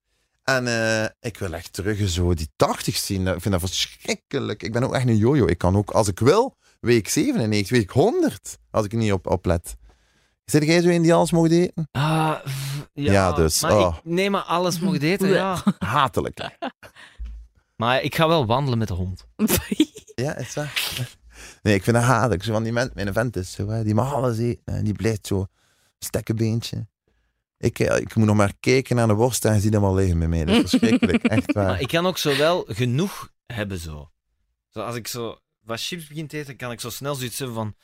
En eh, ik wil echt terug zo die 80 zien. Dat- Ik vind dat verschrikkelijk. Ik ben ook echt een jojo. Ik kan ook, als ik wil, week 97, week 100. Als ik er niet op, op let. Zit jij zo in die alles mogen eten?
Ah, pff, ja,
Ja, dus,
Maar
oh.
ik neem maar alles mocht eten, ja.
Hatelijk.
Maar ik ga wel wandelen met de hond.
Ja, is waar. Nee, ik vind dat hatelijk. Zo van die men, mijn vent is zo, hè, die mag alles eten. hè, Die blijft zo stekkenbeentje. Ik, eh, ik moet nog maar kijken naar de worst en je ziet hem al liggen bij mij. Dat is verschrikkelijk, echt
Maar
waar.
ik kan ook zo wel genoeg hebben, zo. zo. Als ik zo wat chips begin te eten, kan ik zo snel zoiets hebben van...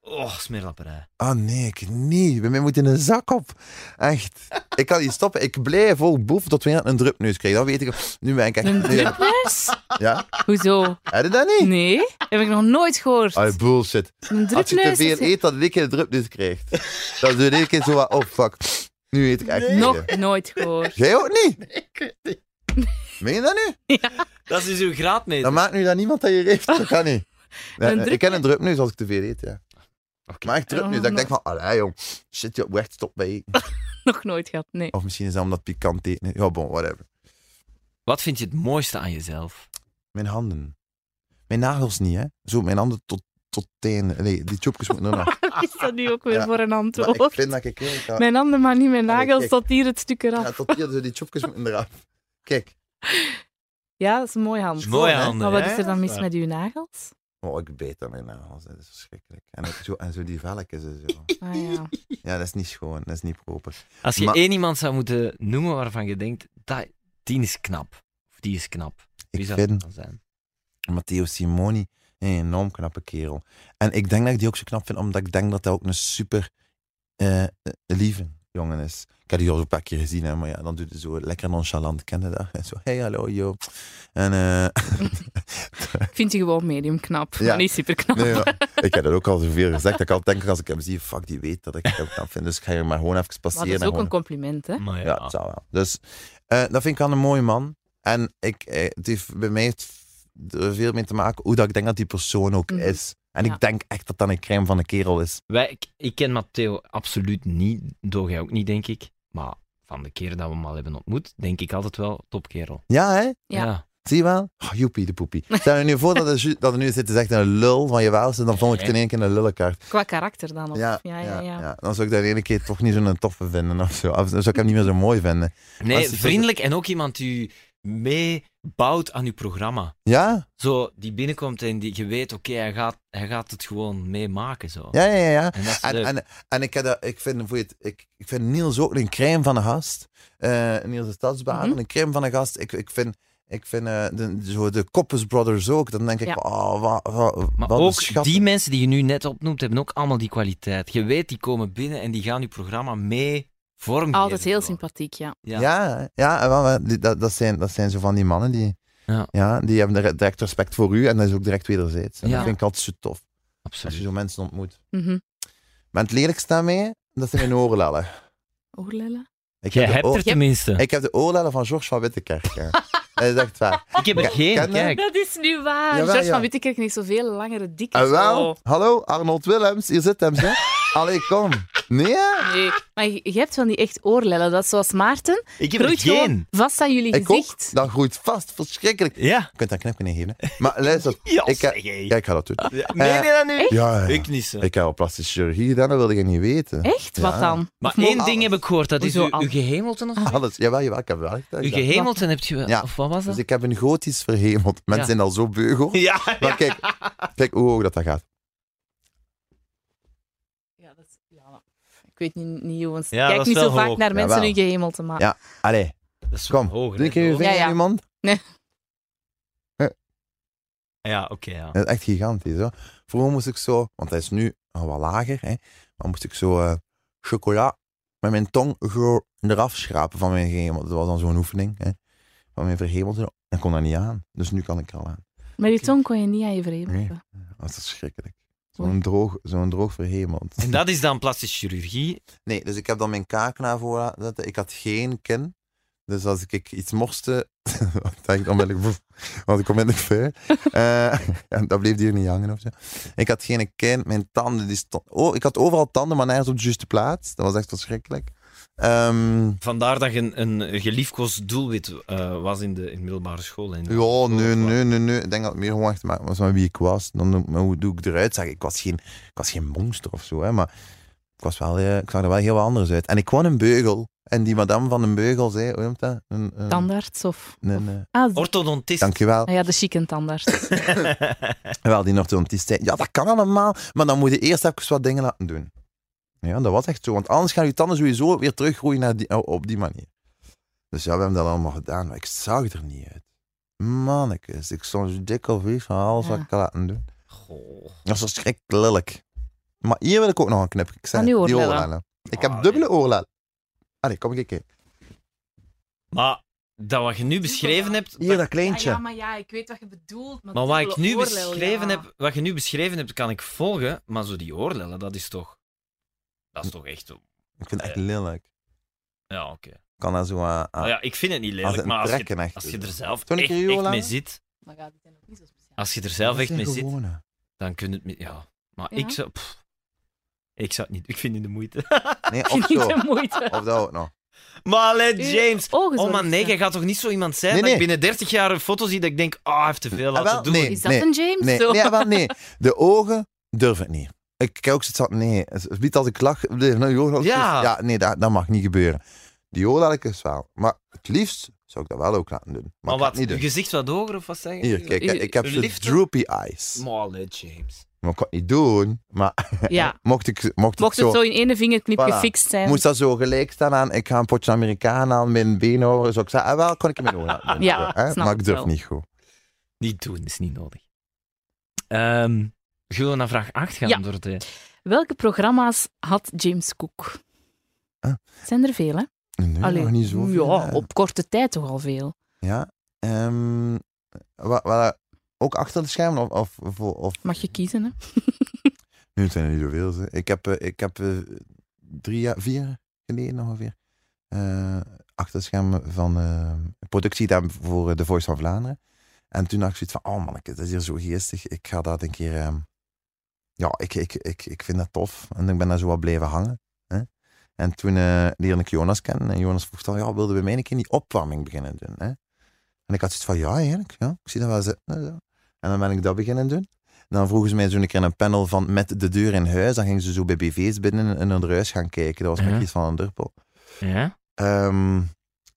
Oh, smeerlapperij.
Ah nee, ik niet. Bij mij moet in een zak op. Echt. Ik kan niet stoppen. Ik blijf ook boef tot we een drupneus krijgen. Dan weet ik, nu ben ik echt...
Een
nu heb ik-
drupneus?
ja?
Hoezo?
Heb je dat niet?
Nee, heb ik nog nooit gehoord.
Ah, bullshit.
Een
Als je te
drupneus
veel
is...
eet, dan een keer een drupneus krijgt. Dan doe je een keer zo wat, oh fuck. Nu eet ik echt niet meer.
Nog nooit gehoord.
Jij ook niet? Nee, ik niet. Meen je dat nu?
Dat is dus uw graadmeter.
Dan maakt nu dat niemand dat je heeft. Dat kan niet. Nee,
Een
nee, ik
druk-
ken een drupneus als ik te veel eet, ja.
Oké.
Oh, Maar echt drupneus, dat ik denk van, allee jong, shit, je moet echt stop bij eten.
Nog nooit gehad, nee.
Of misschien is dat omdat pikant eten. is. Ja, bon, whatever.
Wat vind je het mooiste aan jezelf?
Mijn handen. Mijn nagels niet, hè. Zo, mijn handen tot, tot teen. Nee, die chopjes moeten er nog.
Wat is dat nu ook weer
Ja,
voor een
Maar
antwoord?
ik vind dat ik... heel- Ja,
Mijn handen, maar niet mijn
Ja,
nagels,
kijk.
tot hier het stuk eraf.
ja,
Ja,
tot hier, zo die chopjes moeten eraf. Kijk.
dat is een mooie hand.
Mooie
hè?
handen,
Maar wat
hè?
is er dan mis
Ja.
met uw nagels?
Oh, ik beet aan mijn nagels, dat is verschrikkelijk. En, ik, zo, en zo die velletjes en zo.
Ah, ja.
Ja, dat is niet schoon, dat is niet proper.
Als je
Maar-
één iemand zou moeten noemen waarvan je denkt, dat, die is knap. Of die is knap. Wie
Ik
zou dat
vind
dan zijn?
Matteo Simoni, een enorm knappe kerel. En ik denk dat ik die ook zo knap vind, omdat ik denk dat hij ook een super eh, eh, lieve jongen is. Ik heb die al een paar keer gezien, hè, maar ja, dan doet hij zo lekker nonchalant, ken je dat? En zo, hey, hallo, yo. En, eh,
Ik vind je gewoon medium knap.
Ja.
Maar niet super knap.
nee, ja, ik heb dat ook al zoveel gezegd, dat ik al denk, als ik hem zie, fuck, die weet dat ik hem knap vind, dus ik ga hier maar gewoon even
maar
passeren.
dat
en
is ook
gewoon-
een compliment, hè?
Maar
Ja, het zou wel. Dus eh, dat vind ik wel een mooie man. En ik, eh, het heeft bij mij het er veel mee te maken hoe dat ik denk dat die persoon ook
Mhm.
is. En
Ja.
ik denk echt dat dat een crème van een kerel is.
Wij, ik, ik ken Matteo absoluut niet, door jij ook niet, denk ik. Maar van de keren dat we hem al hebben ontmoet, denk ik altijd wel topkerel.
Ja, hè?
Ja.
Zie je wel? Oh, joepie de poepie. Stel je nu voor dat er, ju- dat er nu zit, is echt een lul van je waals. En dan vond ik het in één keer een lullenkaart.
Qua karakter dan. Of... Ja, ja, ja.
Dan zou ik dat de ene keer toch niet zo'n toffe vinden of zo. Of dan zou ik hem niet meer zo mooi vinden.
Nee,
Als die-
vriendelijk en ook iemand die u mee
bouwt aan je programma.
Ja?
Zo, die binnenkomt en die, je weet, oké, hij, gaat, hij gaat het gewoon meemaken. Zo.
Ja, ja, ja. ja.
En dat is
En,
leuk.
en, en ik, heb dat, ik, vind, voor het, ik, ik vind Niels ook een crème van de gast. Eh, Niels de Stadsbaan,
Mhm.
een crème van de gast. Ik, ik vind, ik vind eh, de, zo de Koppers Brothers ook. Dan denk ik,
Ja.
oh, wa- wa-
maar
wat een
ook
schat.
die mensen die je nu net opnoemt, hebben ook allemaal die kwaliteit. Je weet, die komen binnen en die gaan je programma mee vormen.
Altijd heel sympathiek, ja.
Ja.
Ja, ja, en wel, wel, die- dat, dat, zijn, dat zijn zo van die mannen die,
Ja.
ja. die hebben direct- direct respect voor u en dat is ook direct wederzijds. En
Ja.
Dat vind ik altijd zo tof, als je
Absoluut.
zo mensen ontmoet.
Mhm.
Maar het lelijkste daarmee, dat zijn mijn oorlellen.
Oorlellen?
Ik
Jij
de
hebt
oor-
er tenminste.
ik heb de oorlellen van George van Wittekerk. ja. dat is echt waar.
Ik heb er geen,
ken je?
kijk.
Dat is nu waar.
Jawel,
George
ja.
van Wittekerk heeft zoveel langere, dikke
Dus
En Ah, wel,
oh.
zo.
hallo, Arnold Willems, hier zit hem, hè? Allee, kom. Nee, hè?
Nee, maar je, je hebt van die echt oorlellen. Dat is zoals Maarten.
Ik heb er
Groeit gewoon
geen.
vast aan jullie
Ik ook.
gezicht.
Dat groeit vast, verschrikkelijk.
Ja.
Je kunt daar een knipje in geven, hè. Maar luister,
Ja,
Ik, eh,
zeg, hey.
ja, ik ga dat doen.
Ja, Meen je dat nu?
Ja, ja.
Ik niet zo.
Ik heb al plastische chirurgie gedaan, dat wilde je niet weten.
Echt? Wat
Ja.
dan?
Maar
Of mo-
één ding heb ik gehoord, dat is
Hoezo Ah.
uw, uw
alles?
gehemelten of zo.
Alles, jawel, jawel, ik heb wel echt
Uw
gedaan.
gehemelten hebt je...
Ja.
Of wat was
Dus
dat?
ik heb een gotisch verhemeld. Mensen
Ja.
zijn al zo beugel.
Ja,
Maar kijk, kijk hoe hoog dat, dat gaat.
Ja, dat is- ja, maar Ik weet niet, niet jongens.
Ja, dat
Kijk
is
niet zo
wel
vaak
hoog.
naar mensen
Jawel.
hun gehemel te maken.
Ja. Allee,
Dat is
kom.
hoger.
Doe een keer je
hè?
vinger
Ja, ja.
in je mond.
Ja, oké, ja.
Dat is echt gigantisch. Hoor. Vroeger moest ik zo, want hij is nu al wat lager, hè, maar moest ik zo eh, chocola met mijn tong zo eraf schrapen van mijn gehemel. Dat was dan zo'n oefening. Hè, van mijn verhemelte. Dan kon dat niet aan. Dus nu kan ik er al aan.
Maar die tong kon je niet aan je vreemd.
Nee. Dat is verschrikkelijk. Zo'n droog, zo'n droog verhemeld.
En dat is dan plastische chirurgie.
Nee, dus ik heb dan mijn kaak naar voren laten zetten. Ik had geen kin. Dus als ik- ik iets morste, dan onmiddellijk, woef, want ik onmiddellijk ver. en Eh, dat bleef hier niet hangen of zo. Ik had geen kin, mijn tanden, die stond, oh, ik had overal tanden, maar nergens op de juiste plaats. Dat was echt verschrikkelijk. Ehm,
Vandaar dat je een, een geliefkoosd doelwit eh, was in de in middelbare school. En
ja, nee, nee, nee, nee. Ik denk dat het meer gewoon echt te maken was met wie ik was. Dan, de- maar hoe doe ik eruit? Zeg, ik, was geen, ik was geen monster of zo, hè, maar ik, was wel, eh, ik zag er wel heel wat anders uit. En ik kwam een beugel. En die madame van een beugel zei, hoe noemt dat? Een, een-
Tandarts of...
Nee, nee.
Ah, d-
Orthodontist.
Dankjewel.
ah ja, de chique tandarts.
Wel, die orthodontist zei, ja, dat kan allemaal, maar dan moet je eerst even wat dingen laten doen. Ja, dat was echt zo, want anders gaan je tanden sowieso weer teruggroeien naar die, oh, op die manier. Dus ja, we hebben dat allemaal gedaan, maar ik zag er niet uit. Mannekes, ik stond zo dik of iets van alles wat
Ja.
ik had laten doen.
Goh.
Dat was schrikkelijk. Maar hier wil ik ook nog een knip. Ik zei,
Aan die oorlellen.
Ik
Ah,
heb dubbele oorlellen. Allee, kom ik keer.
Maar dat wat je nu beschreven hebt...
Hier, dat kleintje.
maar Ah, ja, ik weet wat je bedoelt.
Maar wat, ik nu beschreven heb, wat je nu beschreven hebt, kan ik volgen. Maar zo die oorlellen, dat is toch... Dat is toch echt...
Ik vind het echt lelijk.
Ja, oké.
Ik kan dat zo aan... aan-
Nou ja, ik vind het niet
aan
lelijk,
Ah. het
maar als je,
trekken echt.
als je er zelf
Toen ik
echt,
hier
echt
lang-
mee zit...
Maar ja, die zijn ook niet zo speciaal.
Als je er zelf
Dat
echt
zijn
mee zit,
gewone.
dan kun je het... met- Ja. Maar
Ja.
ik zou... pff, ik zou het niet... Ik vind het de moeite.
Nee,
Niet
of zo.
de moeite.
Of dat ook nog.
maar let
Uw
James...
ogen
Oh
zorgen.
man, nee, jij gaat toch niet zo iemand zijn
Nee,
dat ik
nee.
binnen 30 jaar een foto zie dat ik denk, ah, hij heeft te veel
Ah,
laten
wel,
doen.
nee.
Is dat een James?
Nee,
Zo.
nee, wel, nee. De ogen durf ik niet. Ik kijk ook zoiets van, nee, het biedt als ik lach. Nee, nou, joh,
Ja.
ja, nee, dat, dat mag niet gebeuren. Die oorlelletjes wel. Maar het liefst zou ik dat wel ook laten doen. Maar,
Maar
ik ga het
wat,
niet
je
doen.
gezicht wat hoger of wat zeg je?
Hier, kijk, ik heb zo'n
Liefde?
droopy eyes.
Maar let James.
Maar ik kan het niet doen. Maar
Ja.
mocht ik, mocht
Mocht
ik
het
zo,
zo in ene vingerknip
Voilà.
gefixt zijn.
moest dat zo gelijk staan aan, ik ga een potje Amerikaan aan mijn been horen. Zou ik zeggen, ah, wel, kon ik hem in mijn ogen laten doen.
Ja,
hè?
snap
maar
ik
ik durf
wel.
niet goed.
Niet doen, is niet nodig. Ehm zullen we naar vraag 8 gaan,
Ja.
Dorothee?
Welke programma's had James Cook?
Ah.
Zijn er veel, hè?
Nee,
Allee,
nog niet zo.
Ja, op korte tijd toch al veel.
Ja. ehm, wa- wa- ook achter de schermen? Of, of, of, of-
Mag je kiezen, hè?
Nu het zijn er niet zoveel. Zeg. Ik heb, eh, ik heb eh, drie jaar, vier jaar geleden ongeveer eh achter de schermen van eh, productie gedaan voor eh, The Voice van Vlaanderen. En toen dacht ik zoiets van, oh man, dat is hier zo geestig. Ik ga dat een keer... ehm, ja, ik, ik, ik, ik vind dat tof. En ik ben daar zo wat blijven hangen. Hè? En toen eh, leerde ik Jonas kennen. En Jonas vroeg dan, ja, wilden we mij een keer die opwarming beginnen doen? Hè? En ik had zoiets van, ja, eigenlijk. Ja, ik zie dat wel zitten. hè, zo. En dan ben ik dat beginnen doen. Dan vroegen ze mij zo'n keer een panel van met de deur in huis. Dan gingen ze zo bij BV's binnen in hun huis gaan kijken. Dat was met
Ja.
Kies van een Durpel.
Ja?
Ehm,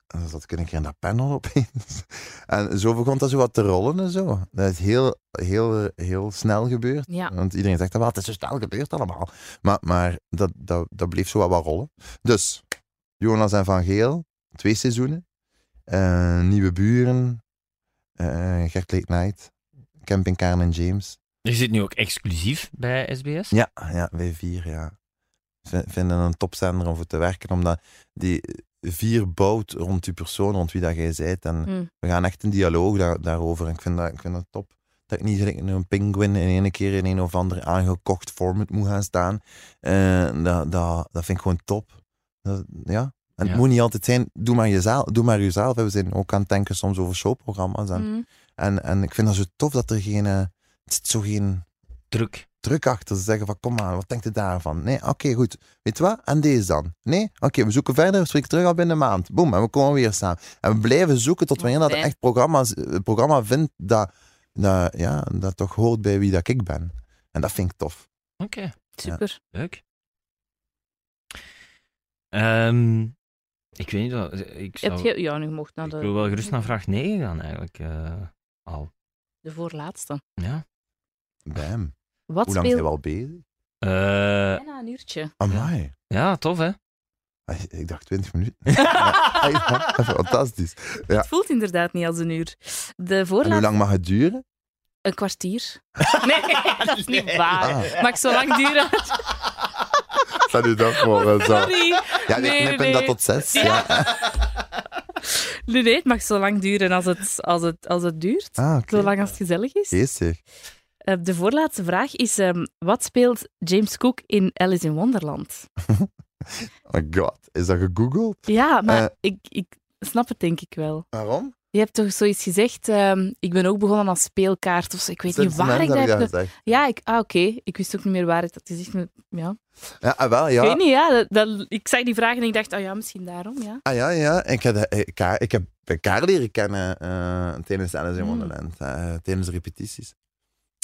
En dan zat ik een keer in dat panel opeens. En zo begon dat zo wat te rollen en zo. Dat is heel, heel, eh, heel snel gebeurd.
Ja.
Want iedereen zegt dat wel, het is zo snel gebeurd allemaal. Maar, maar dat, dat, dat bleef zo wat, wat rollen. Dus, Jonas en Van Geel, twee seizoenen. Eh, nieuwe buren. eh Gert Late Night. Camping Karen en James.
Je zit nu ook exclusief bij SBS.
Ja, ja, wij vier, ja. V- vinden een topzender om voor te werken, omdat die vier bouwt rond die persoon, rond wie dat jij bent. En
Hm.
we gaan echt in dialoog daar- daarover. En ik vind dat, ik vind dat top. Dat ik niet gelijk een pinguïn in ene keer in een of ander aangekocht format moet gaan staan. Eh, dat, dat, dat vind ik gewoon top. Dat- ja. En het
Ja.
moet niet altijd zijn, doe maar, jezelf, doe maar jezelf. hè. We zijn ook aan het denken soms over showprogramma's. En,
Hm.
en, en ik vind dat zo tof dat er geen... eh, het zit zo geen
Druk.
druk achter. Ze zeggen van, kom maar, wat denkt u daarvan? Nee, oké, goed. Weet je wat? En deze dan? Nee? Oké, we zoeken verder, we spreken terug al binnen een maand. Boom, en we komen weer samen. En we blijven zoeken tot
Wat
wanneer dat
fijn.
echt programma's, het programma vindt dat, dat, ja, dat toch hoort bij wie dat ik ben. En dat vind ik tof.
Oké,
Super.
leuk. Ehm, ik weet niet wat... Ik, zou,
Heb je... Ja, nu mocht naar
ik
de,
wil wel gerust naar vraag 9 gaan eigenlijk. eh, al.
de voorlaatste.
Ja.
Bam.
Wat
Hoe lang zijn
speelt...
we al bezig?
Eh,
Bijna een uurtje.
Amai.
ja, tof hè?
Ai, Ik dacht 20 minuten. Ja, Fantastisch. Ja.
Het voelt inderdaad niet als een uur. De
En hoe
voorlaatste...
lang mag het duren?
Een kwartier. Nee, dat is niet waar.
Ah.
Mag zo lang duren?
Stel u dat voor. eh, Zo.
Oh, Sorry.
Ja, ik
Nee,
knippen
nee.
dat tot zes.
Ja.
Ja.
Nee, nee, het mag zo lang duren als het, als het, als het duurt.
Ah, oké.
Zolang als het gezellig is.
Geestig.
Eh, de voorlaatste vraag is: ehm, wat speelt James Cook in Alice in Wonderland?
Oh god, is dat gegoogeld?
Ja, maar
Eh.
ik, ik snap het denk ik wel.
Waarom?
Je hebt toch zoiets gezegd? ehm, ik ben ook begonnen als speelkaart of zo. Ik weet
Sinds
niet waar
dan
ik dat heb. ge-
gezegd.
Ja, ik, ah, oké. Ik wist ook niet meer waar ik dat gezegd heb. Ja.
Ja, ah, wel, ja.
Ik weet niet, ja. Dat, dat- ik zag die vraag en ik dacht, ah ja, misschien daarom, ja.
Ah ja, ja. Ik, had, eh, ik, ha- ik heb elkaar leren kennen eh, tijdens Alice in
Mm.
Wonderland, eh, tijdens de repetities.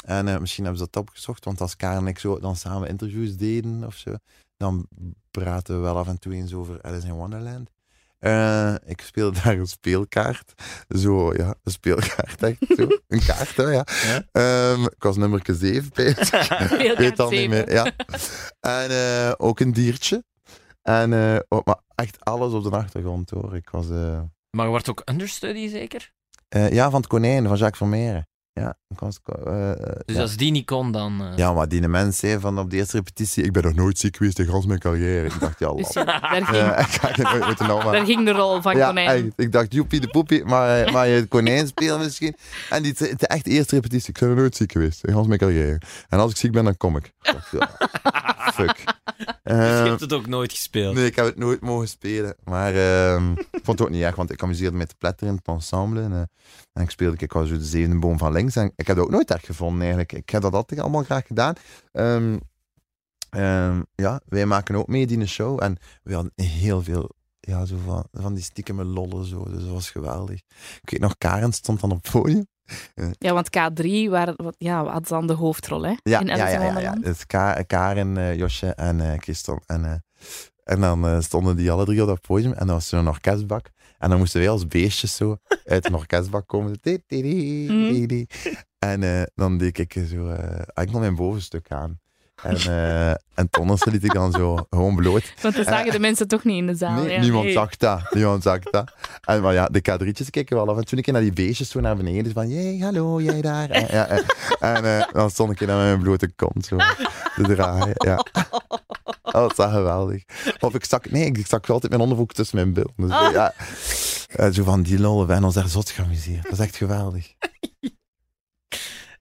En eh, misschien hebben ze dat opgezocht, want als Karel en ik zo dan samen interviews deden of zo, dan praten we wel af en toe eens over Alice in Wonderland. Eh, ik speelde daar een speelkaart. Zo, ja, een speelkaart, echt zo. Een kaart, hè, ja. Ehm, ik was nummer 7 bezig. Ik weet al niet meer. Ja. En eh, ook een diertje. En, eh, oh, maar echt alles op de achtergrond hoor. Ik was, eh,
Maar je wordt ook understudy zeker?
eh, ja, van het konijn, van Jacques Vermeer. Ja, ik was, eh, eh,
Dus
ja.
als die niet kon, dan... eh,
ja, maar die mens zei van op de eerste repetitie, ik ben nog nooit ziek geweest in gans mijn carrière. Ik dacht, ja, lap.
Dus ja, daar, ging,
Eh, ik ga je nooit moeten nou, maar-
daar ging de rol van
ja,
konijn.
echt. Ik dacht, joepie de poepie, maar, eh, maar je het konijn spelen misschien. En die t- de echt eerste repetitie, ik ben nog nooit ziek geweest in gans mijn carrière. En als ik ziek ben, dan kom ik. Ik dacht, ja, fuck.
Je
Eh,
hebt het ook nooit gespeeld.
Nee, ik heb het nooit mogen spelen. Maar ehm, ik vond het ook niet erg, want ik amuseerde me te pletteren in het ensemble. En, eh, en ik speelde, ik was zo de zevende boom van links. En ik heb dat ook nooit erg gevonden eigenlijk. Ik heb dat altijd allemaal graag gedaan. Ehm, ehm, ja, wij maken ook mee die een show. En we hadden heel veel ja, zo van, van die stiekeme lollen. Zo. Dus dat was geweldig. Ik weet nog, Karen stond dan op het podium.
Ja, want K3 waren, wat- ja, had dan de hoofdrol hè?
Ja,
in
ja,
Alice
ja,
in
ja, ja.
Wonderland.
Dus Ka- Karen, eh, Josje en eh Christon. En, eh, en dan eh, stonden die alle drie op dat podium en dan was er een orkestbak. En dan moesten wij als beestjes zo uit een orkestbak komen. Ti, ti, ti,
Mm.
ti, ti. En eh, dan deed ik zo... eh ah, ik nam mijn bovenstuk aan. En, eh en Tonnes liet ik dan zo gewoon bloot.
Want dan zagen de mensen toch niet in de zaal.
Nee,
ja.
niemand
Nee.
zag dat. Niemand zag dat. En, maar ja, de kadrietjes keken wel af. En toen ik naar die beestjes zo naar beneden, van, jee, hallo, jij daar. En, ja, en, en, eh, dan stond ik daar met mijn blote kont zo te draaien. Ja. Oh, dat was geweldig. Of ik stak, nee, ik stak altijd mijn onderbroek tussen mijn bil. Dus, eh, ja. Eh, zo van, die lollen, we hebben ons daar zot geamuseerd. Dat is echt geweldig.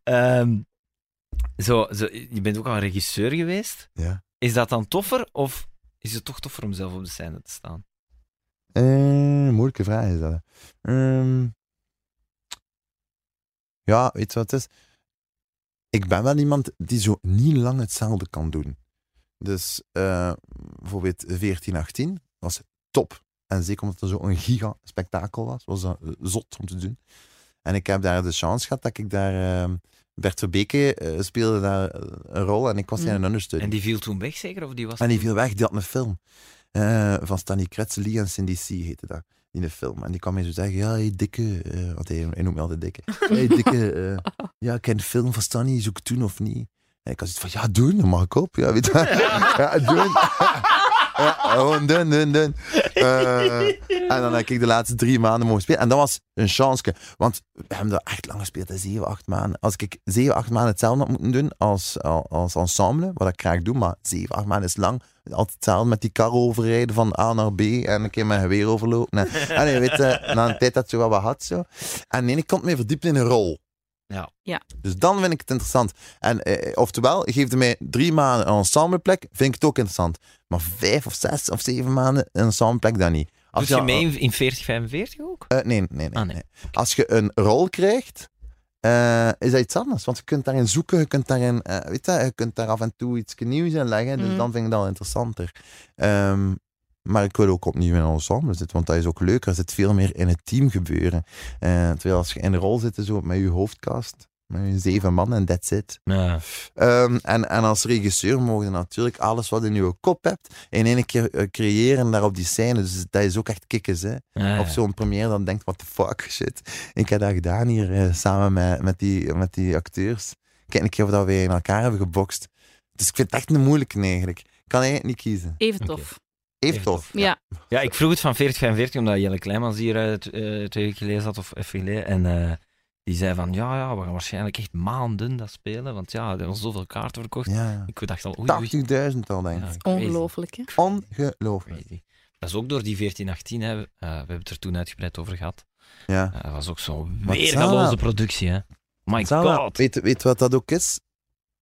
Ehm, zo, zo, je bent ook al regisseur geweest.
Ja.
Is dat dan toffer of is het toch toffer om zelf op de scène te staan?
Eh, moeilijke vraag is dat. hè. Ehm, ja, weet je wat het is? Ik ben wel iemand die zo niet lang hetzelfde kan doen. Dus eh, bijvoorbeeld 1418 was top. En zeker omdat het zo'n giga spektakel was, was dat eh, zot om te doen. En ik heb daar de chance gehad dat ik daar... ehm Bert Verbeke eh, speelde daar eh, een rol en ik was
Mm.
zijn understudy.
En die viel toen weg zeker? Of die was
En die
toen-
viel weg, die had een film. eh, van Stanley Kretzelie en Cindy C heette dat. in de film. En die kwam mij zo zeggen, ja, hey, dikke... eh, want hij, hij noemt me altijd dikke. Hey, dikke, eh, ja, ik ken de film van Stanny, zoek het doen of niet? En ik had zoiets van, ja, doen, dan mag ik op. Ja, weet je wel. Ja, doen. Ja, gewoon doen, doen, doen. Eh, en dan heb ik de laatste drie maanden mogen spelen. En dat was een chance. Want we hebben dat echt lang gespeeld, hè, zeven, acht maanden. Als ik zeven, acht maanden hetzelfde had moeten doen als, als ensemble, wat ik graag doe, maar zeven, acht maanden is lang. Altijd hetzelfde met die kar overrijden van A naar B en een keer mijn geweer overlopen. En, en je weet, eh, na een tijd dat je wel wat had. Zo. En nee, ik kon me verdiepen in een rol.
Ja.
Ja.
Dus dan vind ik het interessant. En eh, oftewel, geeft hij mij drie maanden een ensembleplek, vind ik het ook interessant. Maar vijf of zes of zeven maanden een ensembleplek dan niet.
Doet
Als
Dus je
al-
mee in, in 40, 45 ook?
eh, nee, nee, nee,
Ah, nee.
nee. Als je een rol krijgt, eh, is dat iets anders. Want je kunt daarin zoeken, je kunt daarin, eh, weet je, je kunt daar af en toe iets nieuws in leggen. Dus
Mhm.
dan vind ik dat wel interessanter. Ehm, maar ik wil ook opnieuw in een ensemble zitten, want dat is ook leuker. Er zit veel meer in het team gebeuren. Eh, terwijl als je in een rol zit, zo met je hoofdkast, met je zeven man en that's it.
Ja.
Ehm, en, en als regisseur mogen natuurlijk alles wat in je kop hebt, in één keer eh, creëren daar op die scène. Dus dat is ook echt kikkers, hè. Op zo'n première dan denkt, what the fuck, shit. Ik heb dat gedaan hier eh, samen met, met, die, met die acteurs. Kijk een keer of dat we in elkaar hebben gebokst. Dus ik vind het echt een moeilijke eigenlijk. Ik kan eigenlijk niet kiezen.
Even
Oké.
tof.
Even tof.
Ja.
Ja, ik vroeg het van 40, 45, omdat Jelle Kleimans hier eh, t- eh, twee weken geleden zat, of even geleden. En eh, die zei van, ja, ja, we gaan waarschijnlijk echt maanden dat spelen, want ja, er hebben zoveel kaarten verkocht.
Ja.
Ik dacht al, oei, oei.
80.000 al, denk ik.
Ja, crazy,
Ongelooflijk, hè?
Ongelooflijk.
crazy. Dat is ook door die 1418, hè. Eh, we hebben het er toen uitgebreid over gehad.
Ja.
Eh, dat was ook zo'n
Wat
weergaloze
zou-
productie, hè. My
Zal wel.
god.
Weet, weet wat dat ook is?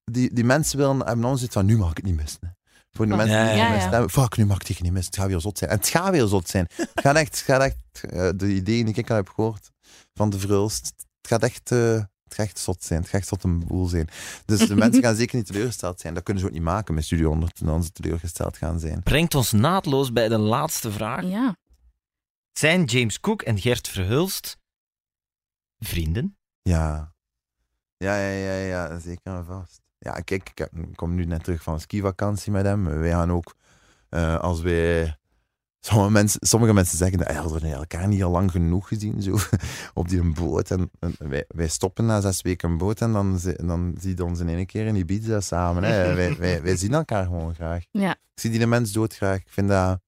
Die, die mensen willen, hebben allemaal zoiets van, nu mag ik het niet missen. hè. Voor de
Oh. Ja.
mensen die het
Ja,
niet
ja.
missen hebben, fuck, nu mag ik het niet missen. Het gaat weer zot zijn. En het gaat weer zot zijn. Het gaat echt, het gaat echt eh, de ideeën die ik al heb gehoord van de Vrulst, het gaat echt... eh, het gaat echt zot zijn, het gaat echt zot een boel zijn. Dus de mensen gaan zeker niet teleurgesteld zijn. Dat kunnen ze ook niet maken met Studio 100, dan ze teleurgesteld gaan zijn.
Brengt ons naadloos bij de laatste vraag.
Ja.
Zijn James Cook en Gert Verhulst vrienden?
Ja. Ja, ja, ja, ja, zeker en vast. Ja, kijk, ik heb- ik kom nu net terug van een skivakantie met hem. Wij gaan ook, eh, als wij... Sommige mensen, sommige mensen zeggen, dat hadden we elkaar niet al lang genoeg gezien, zo, op die boot. En, en wij, wij stoppen na zes weken een boot en dan, zi- dan zie je ons in één keer in Ibiza samen. Hè. wij, wij, wij zien elkaar gewoon graag.
Ja.
Ik zie die mens doodgraag. Ik vind dat,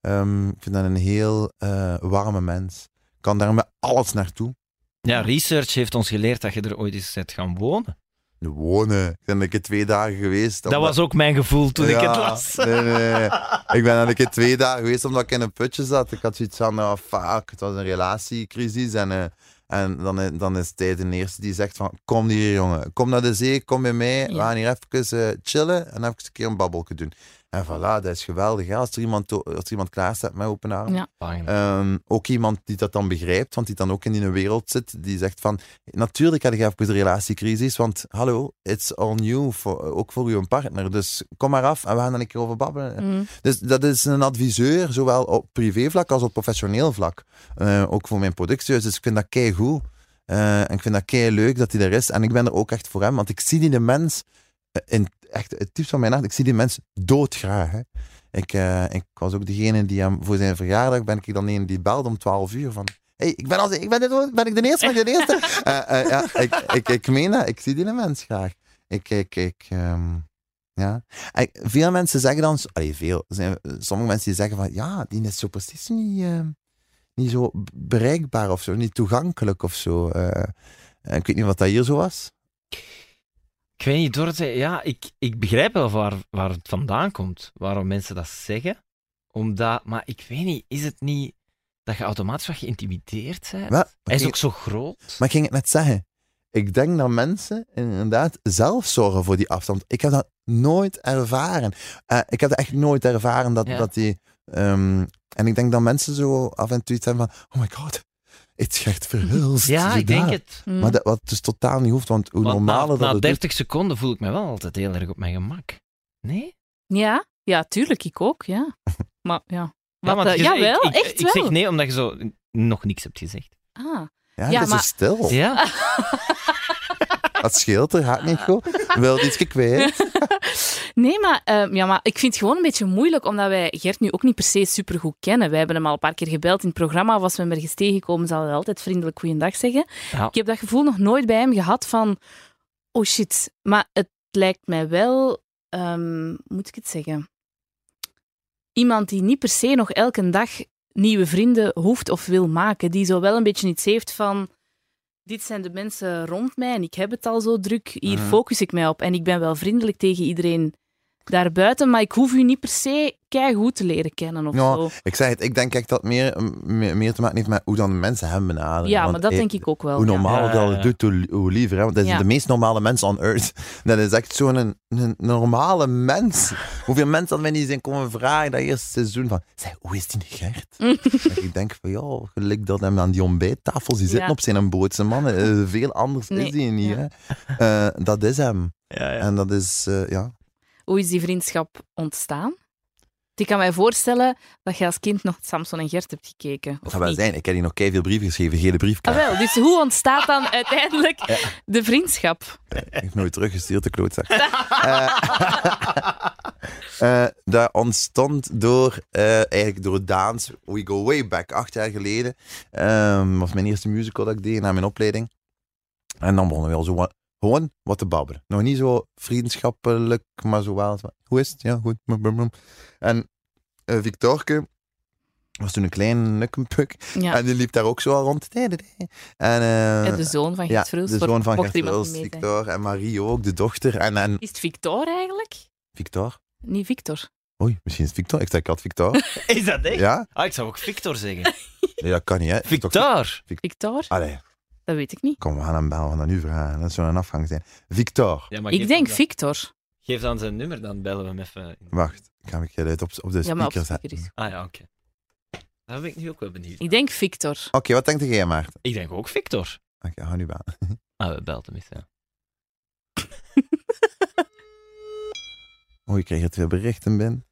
ehm, ik vind dat een heel eh, warme mens. Ik kan daar met alles naartoe.
Ja, research heeft ons geleerd dat je er ooit eens bent gaan wonen.
Wonen. Ik ben een keer twee dagen geweest.
Dat was ook mijn gevoel toen ik
Ja,
het las.
Nee, nee, nee. Ik ben een keer twee dagen geweest omdat ik in een putje zat. Ik had zoiets van, oh, fuck, het was een relatiecrisis. En, eh, en dan, dan is hij de eerste die zegt van, kom hier jongen, kom naar de zee, kom bij mij. We
Ja.
gaan hier even eh, chillen en even een keer een babbelje doen. En voilà, dat is geweldig. hè. Als er iemand, to- als er iemand klaar staat met open armen.
Ja.
Bang.
Ehm, ook iemand die dat dan begrijpt, want die dan ook in die wereld zit, die zegt van, natuurlijk had ik even de relatiecrisis, want hallo, it's on you, voor, ook voor uw partner, dus kom maar af en we gaan dan een keer over babbelen.
Mhm.
Dus dat is een adviseur, zowel op privévlak als op professioneel vlak. Eh, ook voor mijn productiehuis, dus ik vind dat keigoed. Eh en ik vind dat kei leuk dat hij er is. En ik ben er ook echt voor hem, want ik zie die de mens, eh, in echt het diepst van mijn hart, ik zie die mens doodgraag. Hè. Ik, eh, ik was ook degene die hem voor zijn verjaardag ben ik dan een die belde om 12 uur van. Hey, ik ben, als, ik ben, dit, ben ik de eerste, ben ik de eerste? Eh, eh, ja, ik, ik, ik meen dat, ik zie die mens graag. Ik, ik, ik, ehm, ja. En veel mensen zeggen dan, allee, veel, Er zijn, sommige mensen die zeggen van, ja, die is zo precies niet, ehm, niet zo bereikbaar of zo, niet toegankelijk of zo. Eh, eh, ik weet niet wat dat hier zo was.
Ik weet niet, Dorothee, ja, ik, ik begrijp wel waar, waar het vandaan komt, waarom mensen dat zeggen. Omdat, maar ik weet niet, is het niet dat je automatisch wat geïntimideerd bent?
Maar,
Hij is ook zo groot.
Maar ik ging het net zeggen. Ik denk dat mensen inderdaad zelf zorgen voor die afstand. Ik heb dat nooit ervaren. Eh, ik heb dat echt nooit ervaren dat,
Ja.
dat die. ehm, en ik denk dat mensen zo af en toe iets hebben van: oh my god, iets echt verhulst.
ja,
zo
ik denk
daar.
het.
Mhm.
Maar dat, wat dus totaal niet hoeft, want hoe
Want na-
normaler
na,
dat het
30 seconden voel ik me wel altijd heel erg op mijn gemak. Nee?
Ja, ja, tuurlijk, ik ook, ja. Maar ja.
Ja,
Wat,
want
eh,
je-
jawel,
ik, ik,
echt
ik
wel.
zeg nee, omdat je zo nog niks hebt gezegd.
Ah.
Ja, het
Ja,
is
maar-
zo stil.
Ah.
Ja?
Dat scheelt, er gaat niet goed. Wil iets kwijt.
Nee, maar, eh, ja, maar ik vind het gewoon een beetje moeilijk, omdat wij Gert nu ook niet per se supergoed kennen. Wij hebben hem al een paar keer gebeld in het programma. Of als we hem ergens tegenkomen, zal hij altijd vriendelijk goeiedag zeggen.
Ja.
Ik heb dat gevoel nog nooit bij hem gehad van... Oh shit, maar het lijkt mij wel... ehm, moet ik het zeggen? Iemand die niet per se nog elke dag nieuwe vrienden hoeft of wil maken. Die zo wel een beetje iets heeft van... Dit zijn de mensen rond mij en ik heb het al zo druk. Hier
Mhm.
focus ik mij op. En ik ben wel vriendelijk tegen iedereen daarbuiten, maar ik hoef u niet per se goed te leren kennen of
Ja,
zo.
Ik zei het, ik denk echt dat meer, me- meer te maken heeft met hoe dan mensen hem benaderen.
Ja,
Want
maar dat
ik-
denk ik ook wel.
Hoe
ja.
normaal dat
Ja, ja,
het
ja.
doet, hoe, hoe liever. Hè? Want dat is
Ja.
de meest normale mens on earth. Dat is echt zo'n een, een normale mens. Hoeveel mensen dat mij niet zijn komen vragen dat eerste seizoen van... Zeg, hoe is die Gert? En ik denk van, ja, gelijk dat hem aan die ontbijttafels, die zitten
Ja.
op zijn bootse mannen. Eh, veel anders
Nee,
is die niet,
ja.
hè. Eh, dat is hem. En dat is, eh, ja...
Hoe is die vriendschap ontstaan? Want Ik kan mij voorstellen dat je als kind nog Samson en Gert hebt gekeken.
Dat
Of
zou Ah, wel
niet?
zijn. Ik heb hier nog veel brieven geschreven, gele
Ah,
briefkaart.
wel, dus hoe ontstaat dan uiteindelijk de vriendschap?
Ik heb nooit teruggestuurd, de klootzak. Eh, eh, dat ontstond door, eh, eigenlijk door Daans, We Go Way Back, acht jaar geleden. Ehm was mijn eerste musical dat ik deed na mijn opleiding. En dan begonnen we al zo wat, gewoon wat te babbelen. Nog niet zo vriendschappelijk, maar zo wel. zo, Hoe is het? Ja, goed. Brum, brum, brum. En eh Victorke was toen een klein nukkenpuk.
Ja, dus
En die liep daar ook zo al rond. Nee, nee, nee. En, eh,
de zoon van Gert Vroels.
de
voor-
zoon van
mocht
Gert
iemand
Wils,
niet mee zijn.
Victor en Marie ook, de dochter. En, en
Is het Victor eigenlijk?
Victor?
Niet Victor.
Oei, misschien is het Victor. Ik zei ik had Victor.
Is dat echt?
ja?
Ah, ik zou ook Victor zeggen.
Nee, dat kan niet, hè? Toch-
Victor!
Victor?
Allee,
Dat weet ik niet.
kom, we gaan hem bellen, we gaan dat nu vragen. Dat zou een afgang zijn. Victor.
Ja, maar
Ik
geef
denk
dan-
Victor.
Geef dan zijn nummer, dan bellen we hem even.
Wacht, ik ga hem uit op, op de
Ja, maar op
speaker
speaker
zetten.
is.
Oké,
Ah ja, oké. Daar ben ik nu ook wel benieuwd.
Ik denk Victor.
wat denkt jij, Maarten?
Ik denk ook Victor.
Oké, hou nu aan.
Ah, we belden hem eens, ja.
Oei, ik kreeg het weer berichten binnen.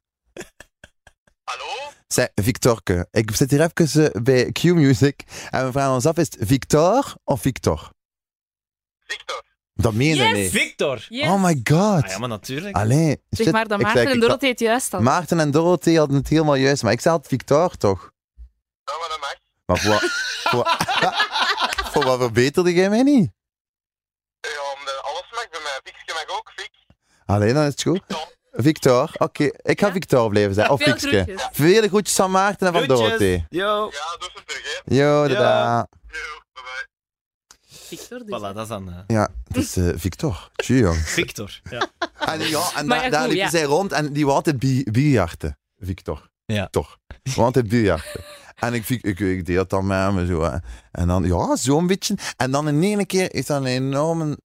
Hallo? Zeg, Victorke. Ik zit hier even eh, bij Q-Music en we vragen ons af, is het Victor of Victor? Victor. Dat meen je
Yes!
niet.
Victor!
Yes.
Oh my god.
Ah ja, maar natuurlijk.
Allee,
zeg
shit,
maar dat
ik
Maarten
zei-
en
ik
Dorothee het juist
had-
hadden.
Maarten en Dorothee hadden het helemaal juist, maar ik zei altijd Victor toch? Ja, maar dat mag. Maar voor, wat- voor, wat- voor wat verbeterde jij mij niet?
Ja, omdat alles mag bij mij. Fiksje mag ook. Fik.
Allee, dan is het goed. Victor, oké, ik ga Victor blijven zijn. Of
Veel
Fiekske.
groetjes.
Vele groetjes aan Maarten en van Dorothee.
Yo!
Ja, doe ze terug, hè.
Yo, dada.
Yo, bye bye.
Victor dus.
Voilà, dat is dan eh,
Ja, het is eh, Victor. Tjie, jong.
Victor. Ja.
En, ja, en
Maar
daar-
ja,
daar
goed,
liepen
ja.
zij rond en die wou altijd bi- biljarten. Victor.
Ja.
Toch. Want het biljarten. En ik, ik, ik, ik deed dat dan met hem en zo. hè. En dan, ja, zo'n beetje. En dan in één keer is dat een enorme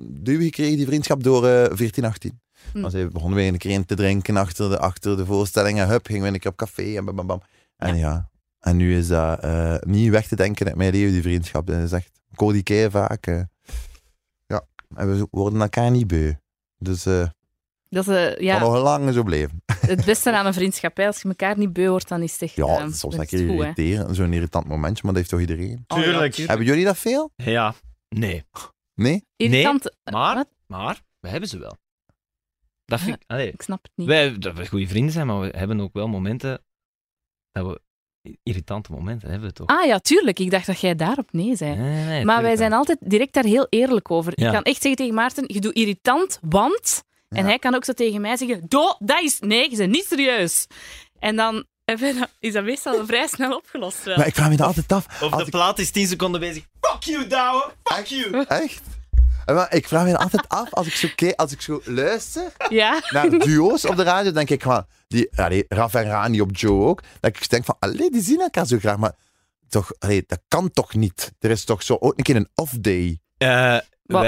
duw gekregen, die vriendschap, door eh 14, 18.
Hm.
Dan zijn- begonnen we een keer in te drinken achter de, achter de voorstelling. En hup, gingen we een keer op café en bam, bam, bam. En ja. En nu is dat eh, niet weg te denken uit mijn leven, die vriendschap. Dat is echt, ik hoor die keer vaak. eh. ja, en we worden elkaar niet beu. Dus eh
Dat is, eh, ja,
kan nog lang zo blijven.
het beste aan een vriendschap. hè. Als je elkaar niet beu wordt, dan is het echt...
Ja,
eh,
het is soms
dan
een
is het
keer
goed, hè.
irriteren. Zo'n irritant momentje, maar dat heeft toch iedereen?
Tuurlijk.
Hebben jullie dat veel?
Ja. Nee.
Nee?
Irritant,
Maar,
Wat?
maar, we hebben ze wel. Dat vind ik... Allee,
ik snap het niet.
wij, dat we goede vrienden zijn, maar we hebben ook wel momenten dat we... Irritante momenten hebben we toch?
Ah ja, tuurlijk. Ik dacht dat jij daarop nee zei.
Nee, nee, nee,
maar wij
tuurlijk
zijn altijd direct daar heel eerlijk over.
Ja.
Ik kan echt zeggen tegen Maarten, je doet irritant, want... En
Ja.
hij kan ook zo tegen mij zeggen, Do, dat is... Nee, je bent niet serieus. En dan hebben we dat- is dat meestal vrij snel opgelost. wel.
Maar ik vraag me dat altijd af.
Of
Als
de plaat is 10 seconden bezig. Fuck you, Douwe! Fuck you!
Echt? Eh, Maar ik vraag me dat altijd af als ik zo, ke- als ik zo luister
Ja.
naar duo's op de radio. denk ik van, die, allee, Raf en Rani op Joe ook. Dat ik denk van, allee, die zien elkaar zo graag. Maar toch, allee, dat kan toch niet? Er is toch zo ook een keer een off-day.
Wat?
Eh,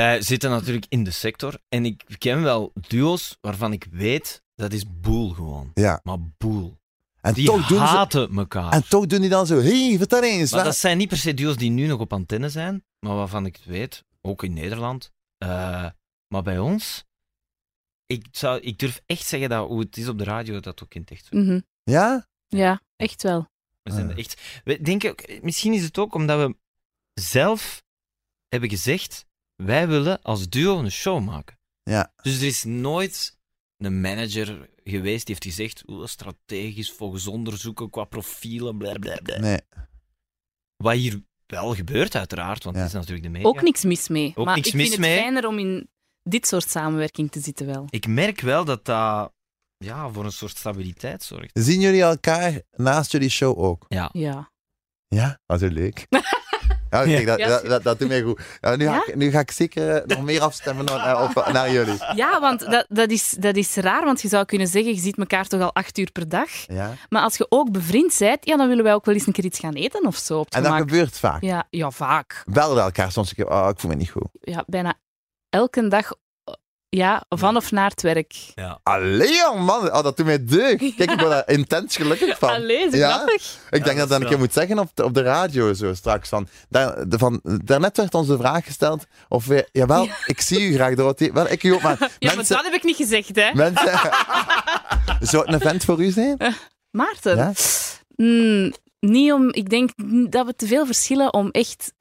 wij zitten natuurlijk in de sector. En ik ken wel duo's waarvan ik weet dat is boel gewoon.
Ja.
Maar boel.
En
Die
toch doen ze...
haten elkaar.
En toch doen die dan zo, hé, hey, vertel eens.
maar
waar-
dat zijn niet per se duo's die nu nog op antenne zijn. Maar waarvan ik het weet, ook in Nederland. Eh, maar bij ons, ik, zou, ik durf echt zeggen dat hoe het is op de radio, dat ook in het echt zo
Mhm.
Ja?
Ja, echt wel.
We zijn
Ah.
echt. We denken, ook- misschien is het ook omdat we zelf hebben gezegd: wij willen als duo een show maken.
Ja.
Dus er is nooit een manager geweest die heeft gezegd, "Oeh, strategisch, volgens onderzoeken, qua profielen, blablabla.
Nee.
Wat hier wel gebeurt uiteraard, want
Ja.
het is natuurlijk de media.
Ook niks mis mee.
Ook
maar
niks
ik
mis
vind
mee.
het fijner om in dit soort samenwerking te zitten wel.
Ik merk wel dat dat ja, voor een soort stabiliteit zorgt.
Zien jullie elkaar naast jullie show ook?
Ja.
Ja? Dat is leuk. Ja, kijk, dat,
Ja.
dat, dat, dat doet mij goed. Ja, nu, ga ik, nu ga ik zeker eh, nog meer afstemmen naar, naar- op, naar jullie.
Ja, want dat, dat, is, dat is raar, want je zou kunnen zeggen, je ziet elkaar toch al acht uur per dag.
Ja?
Maar als je ook bevriend bent, ja, dan willen wij ook wel eens een keer iets gaan eten of zo. Op het
En dat
gemak.
gebeurt vaak.
ja, ja, vaak.
Belden elkaar soms een keer, oh, ik voel me niet goed.
Ja, bijna elke dag ja, van of naar het werk.
Allee, jong, man. Oh, dat doet mij deugd. Kijk, ik word daar intens gelukkig van.
Allee, zo
Ja?
grappig.
Ik denk dat
dat
dat
is
een keer moet zeggen op de, op de radio zo straks. Van, daar, de, van, daarnet werd ons de vraag gesteld of wij... Jawel, ik zie u graag, Dorothy. Wel, ik u ook, maar
Ja, maar
mensen...
dat heb ik niet gezegd, hè.
mensen zou het een vent voor u zijn?
Maarten,
Ja?
Mm, niet om, ik denk n- dat we te veel verschillen om echt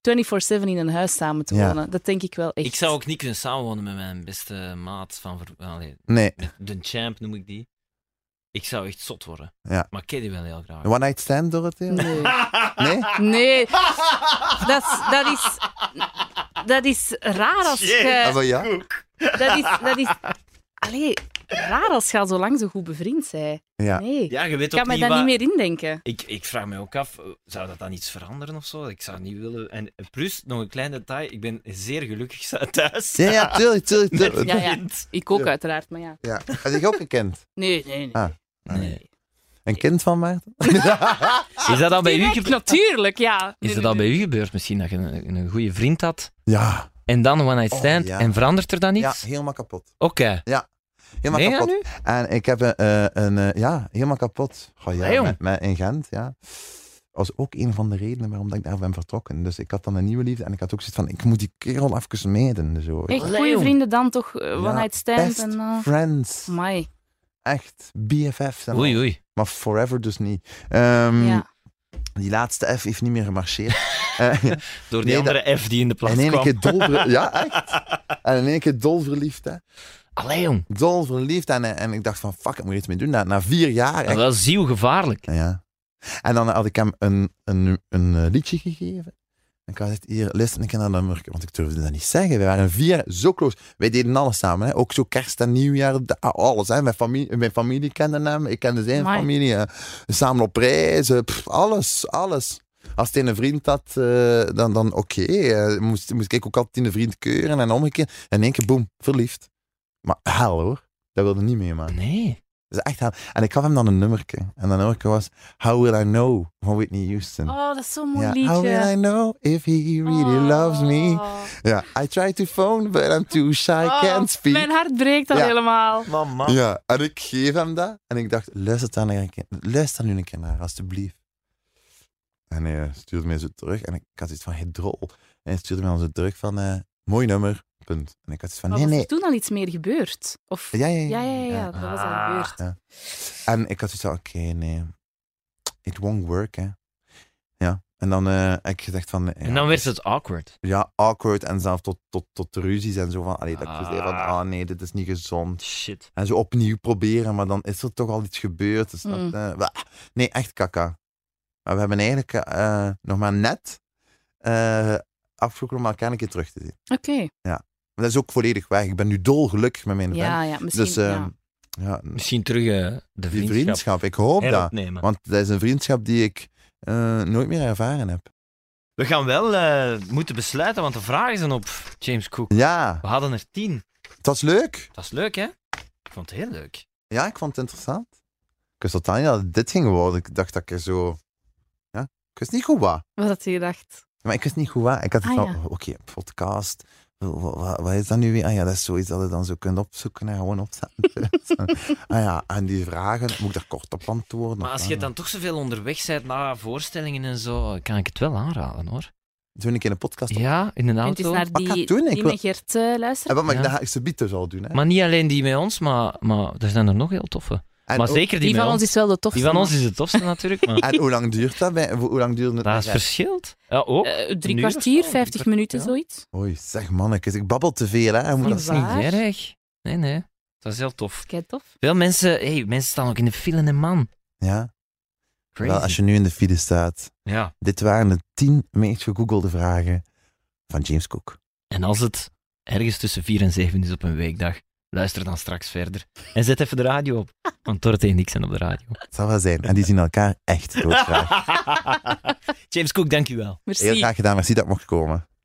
eh, 24-7 in een huis samen te
Ja.
wonen. Dat denk ik wel echt.
Ik zou ook niet kunnen samenwonen met mijn beste maat van... ver- Allee,
Nee.
met de champ noem ik die. Ik zou echt zot worden.
Ja.
Maar ik ken die wel heel graag.
Een One night stand, Dorothy?
Nee.
Nee?
Nee. Dat is, dat is, dat is raar als
Ah, wel
je...
ja.
Dat is, dat is allee, raar als je al zo lang zo goed bevriend bent.
ja.
Nee.
Ja, je weet
ik kan
ook
me
niet
daar
waar-
niet meer indenken.
Ik, ik vraag me ook af, eh, zou dat dan iets veranderen of zo? Ik zou het niet willen. En plus, nog een klein detail, ik ben zeer gelukkig thuis.
Ja, ja, tuurlijk, tuurlijk, tuurlijk.
Ja,
Ja,
ja. Ik ook
Ja.
uiteraard, maar ja.
Had ik ook een kind?
Nee, nee, nee.
Ah, Een kind van Maarten?
Is dat dan bij u,
Ah, Direct,
gebe-
natuurlijk, ja.
is
Nee,
dat
nee,
dan bij
nee.
u gebeurd misschien, dat je een, een goede vriend had
Ja.
en dan een one-night
Oh,
stand
ja.
en verandert er dan
Ja,
iets?
helemaal kapot.
Oké.
Helemaal
Mega
kapot.
nu?
En ik heb een, eh, een eh, ja, helemaal kapot. Goh, ja,
Nee, jong.
met, met- in Gent, ja. was ook een van de redenen waarom dat ik daar ben vertrokken. Dus ik had dan een nieuwe liefde en ik had ook zoiets van, ik moet die kerel even mijden. Zo.
Echt
Allee,
goede
jong.
vrienden dan toch, eh,
Ja,
one night stand
Best
en... eh,
friends.
Amai.
Echt. BFF's. En
Oei,
al.
oei.
Maar forever dus niet. Ehm,
Ja.
Die laatste F heeft niet meer gemarcheerd. Eh,
Door die
Nee, dat-
andere F die in de plaats
en één
kwam.
keer dolver... Ja, echt. En in één keer dolverliefd, hè.
Allee, jong.
Dolverliefd. En, eh, en ik dacht van, fuck, ik moet er iets mee doen. Na, na vier jaar,
Dat is wel zielgevaarlijk.
Ja. En dan had ik hem een, een, een eh, liedje gegeven. En ik had gezegd, hier, luister een keer naar dat nummerke. Want ik durfde dat niet zeggen. We waren vier jaar zo close. Wij deden alles samen. Hè. Ook zo kerst en nieuwjaar. da- ah, Alles. Hè. Mijn, familie, mijn familie kende hem. Ik kende zijn
Amai.
familie. hè. Samen op reis. eh, pff, alles. Alles. Als het een vriend had, eh, dan, dan oké. eh, moest, moest ik ook altijd een vriend keuren. En omgekeerd. En in één keer, boem, verliefd. Maar hel hoor. Dat wilde niet meemaken.
Nee.
Dat is echt hel. En ik gaf hem dan een nummerke. En dat nummerke was How Will I Know van Whitney Houston.
Oh, dat is zo'n mooi
Ja,
liedje.
How Will I Know if he really loves me?
Oh.
Ja, I try to phone, but I'm too shy,
Oh,
can't speak.
Mijn hart breekt al
Ja.
helemaal.
Mama.
Ja, en ik geef hem dat. En ik dacht, luister daar, naar een keer- luister daar nu een keer naar, alstublieft. En hij eh, stuurde mij zo terug. En ik had iets van, hey, drol. En hij stuurde mij dan zo terug van, eh, mooi nummer, punt. En ik had iets van,
Maar
nee,
Oh, was
nee.
er toen al iets meer gebeurd? Of...
Ja, ja,
ja, ja, ja, dat was al
Ah.
gebeurd.
En ik had zoiets van, oké, nee. It won't work, hè. Ja. En dan eh, heb ik gezegd van... eh, dus,
En dan werd het awkward.
Ja, awkward en zelf tot, tot, tot ruzies en zo van... Allee, dat ik zo zei van,
Ah.
ah nee, dit is niet gezond.
Shit.
En zo opnieuw proberen, maar dan is er toch al iets gebeurd. Dus dat,
Mm.
eh, wa- nee, echt kaka. Maar we hebben eigenlijk eh, nog maar net eh afgesproken om elkaar een keer terug te zien.
Oké.
Maar dat is ook volledig weg. Ik ben nu dolgelukkig met mijn vent.
Ja, ja, misschien.
Dus eh,
ja.
ja.
Misschien terug eh, de
die
vriendschap,
vriendschap, ik hoop dat.
heropnemen.
Want dat is een vriendschap die ik eh, nooit meer ervaren heb.
We gaan wel eh, moeten besluiten, want de vragen zijn op James Cook.
Ja,
We hadden er tien.
het was leuk.
Dat is leuk, hè? Ik vond het heel leuk.
Ja, ik vond het interessant. Ik wist totaal niet dat het dit ging worden. Ik dacht dat ik er zo... Ja, ik wist niet goed wat.
Wat had je gedacht?
Maar ik wist niet goed wat. Ik had het
Ah,
van,
ja.
oh, oké, podcast. Wat, wat, wat is dat nu weer? Ah ja, dat is zoiets dat je dan zo kunt opzoeken en gewoon opzetten. ah ja, en die vragen, moet ik daar kort op antwoorden?
Maar
Of
als
wat?
je dan toch zoveel onderweg bent na voorstellingen en zo, kan ik het wel aanraden, hoor.
Toen ik in een podcast... op-
Ja, in een
Kunt eens
auto.
naar
Wat ik
die,
ga doen, ik
die
wil-
met Gert eh, luisteren?
En wat ik
Ja.
dat ga ik ze bieden zal doen. Hè.
Maar niet alleen die met ons, maar, maar er zijn er nog heel toffe.
en,
maar
hoe-
zeker die,
Die
met
van ons
ons.
is wel de tofste.
Die van ons
man.
is het tofste natuurlijk, maar
en hoe lang duurt dat? Bij, hoe lang duurde het?
dat is
bij-
verschilt. Ja, ook.
Eh,
Een
drie
uur of zo,
kwartier,
drie
vijftig
kwartier,
minuten,
ja.
zoiets.
Oei, zeg mannetjes, ik babbel te veel hè. Je moet
Van
dat
dat is niet
waar?
erg. Nee, nee. Dat is heel tof.
Kijk, tof.
Veel mensen, hey, mensen staan ook in de file, hè, man.
Ja?
Crazy.
Wel, als je nu in de file staat.
Ja.
Dit waren de 10 meest gegoogelde vragen van James Cook.
En als het ergens tussen 4 en 7 is op een weekdag, luister dan straks verder. En zet even de radio op, want Dorothy en ik zijn op de radio.
Het zal wel zijn. En die zien elkaar echt doodgraag.
James Cook, dank u wel.
Merci.
Heel graag gedaan. Merci dat ik mocht komen.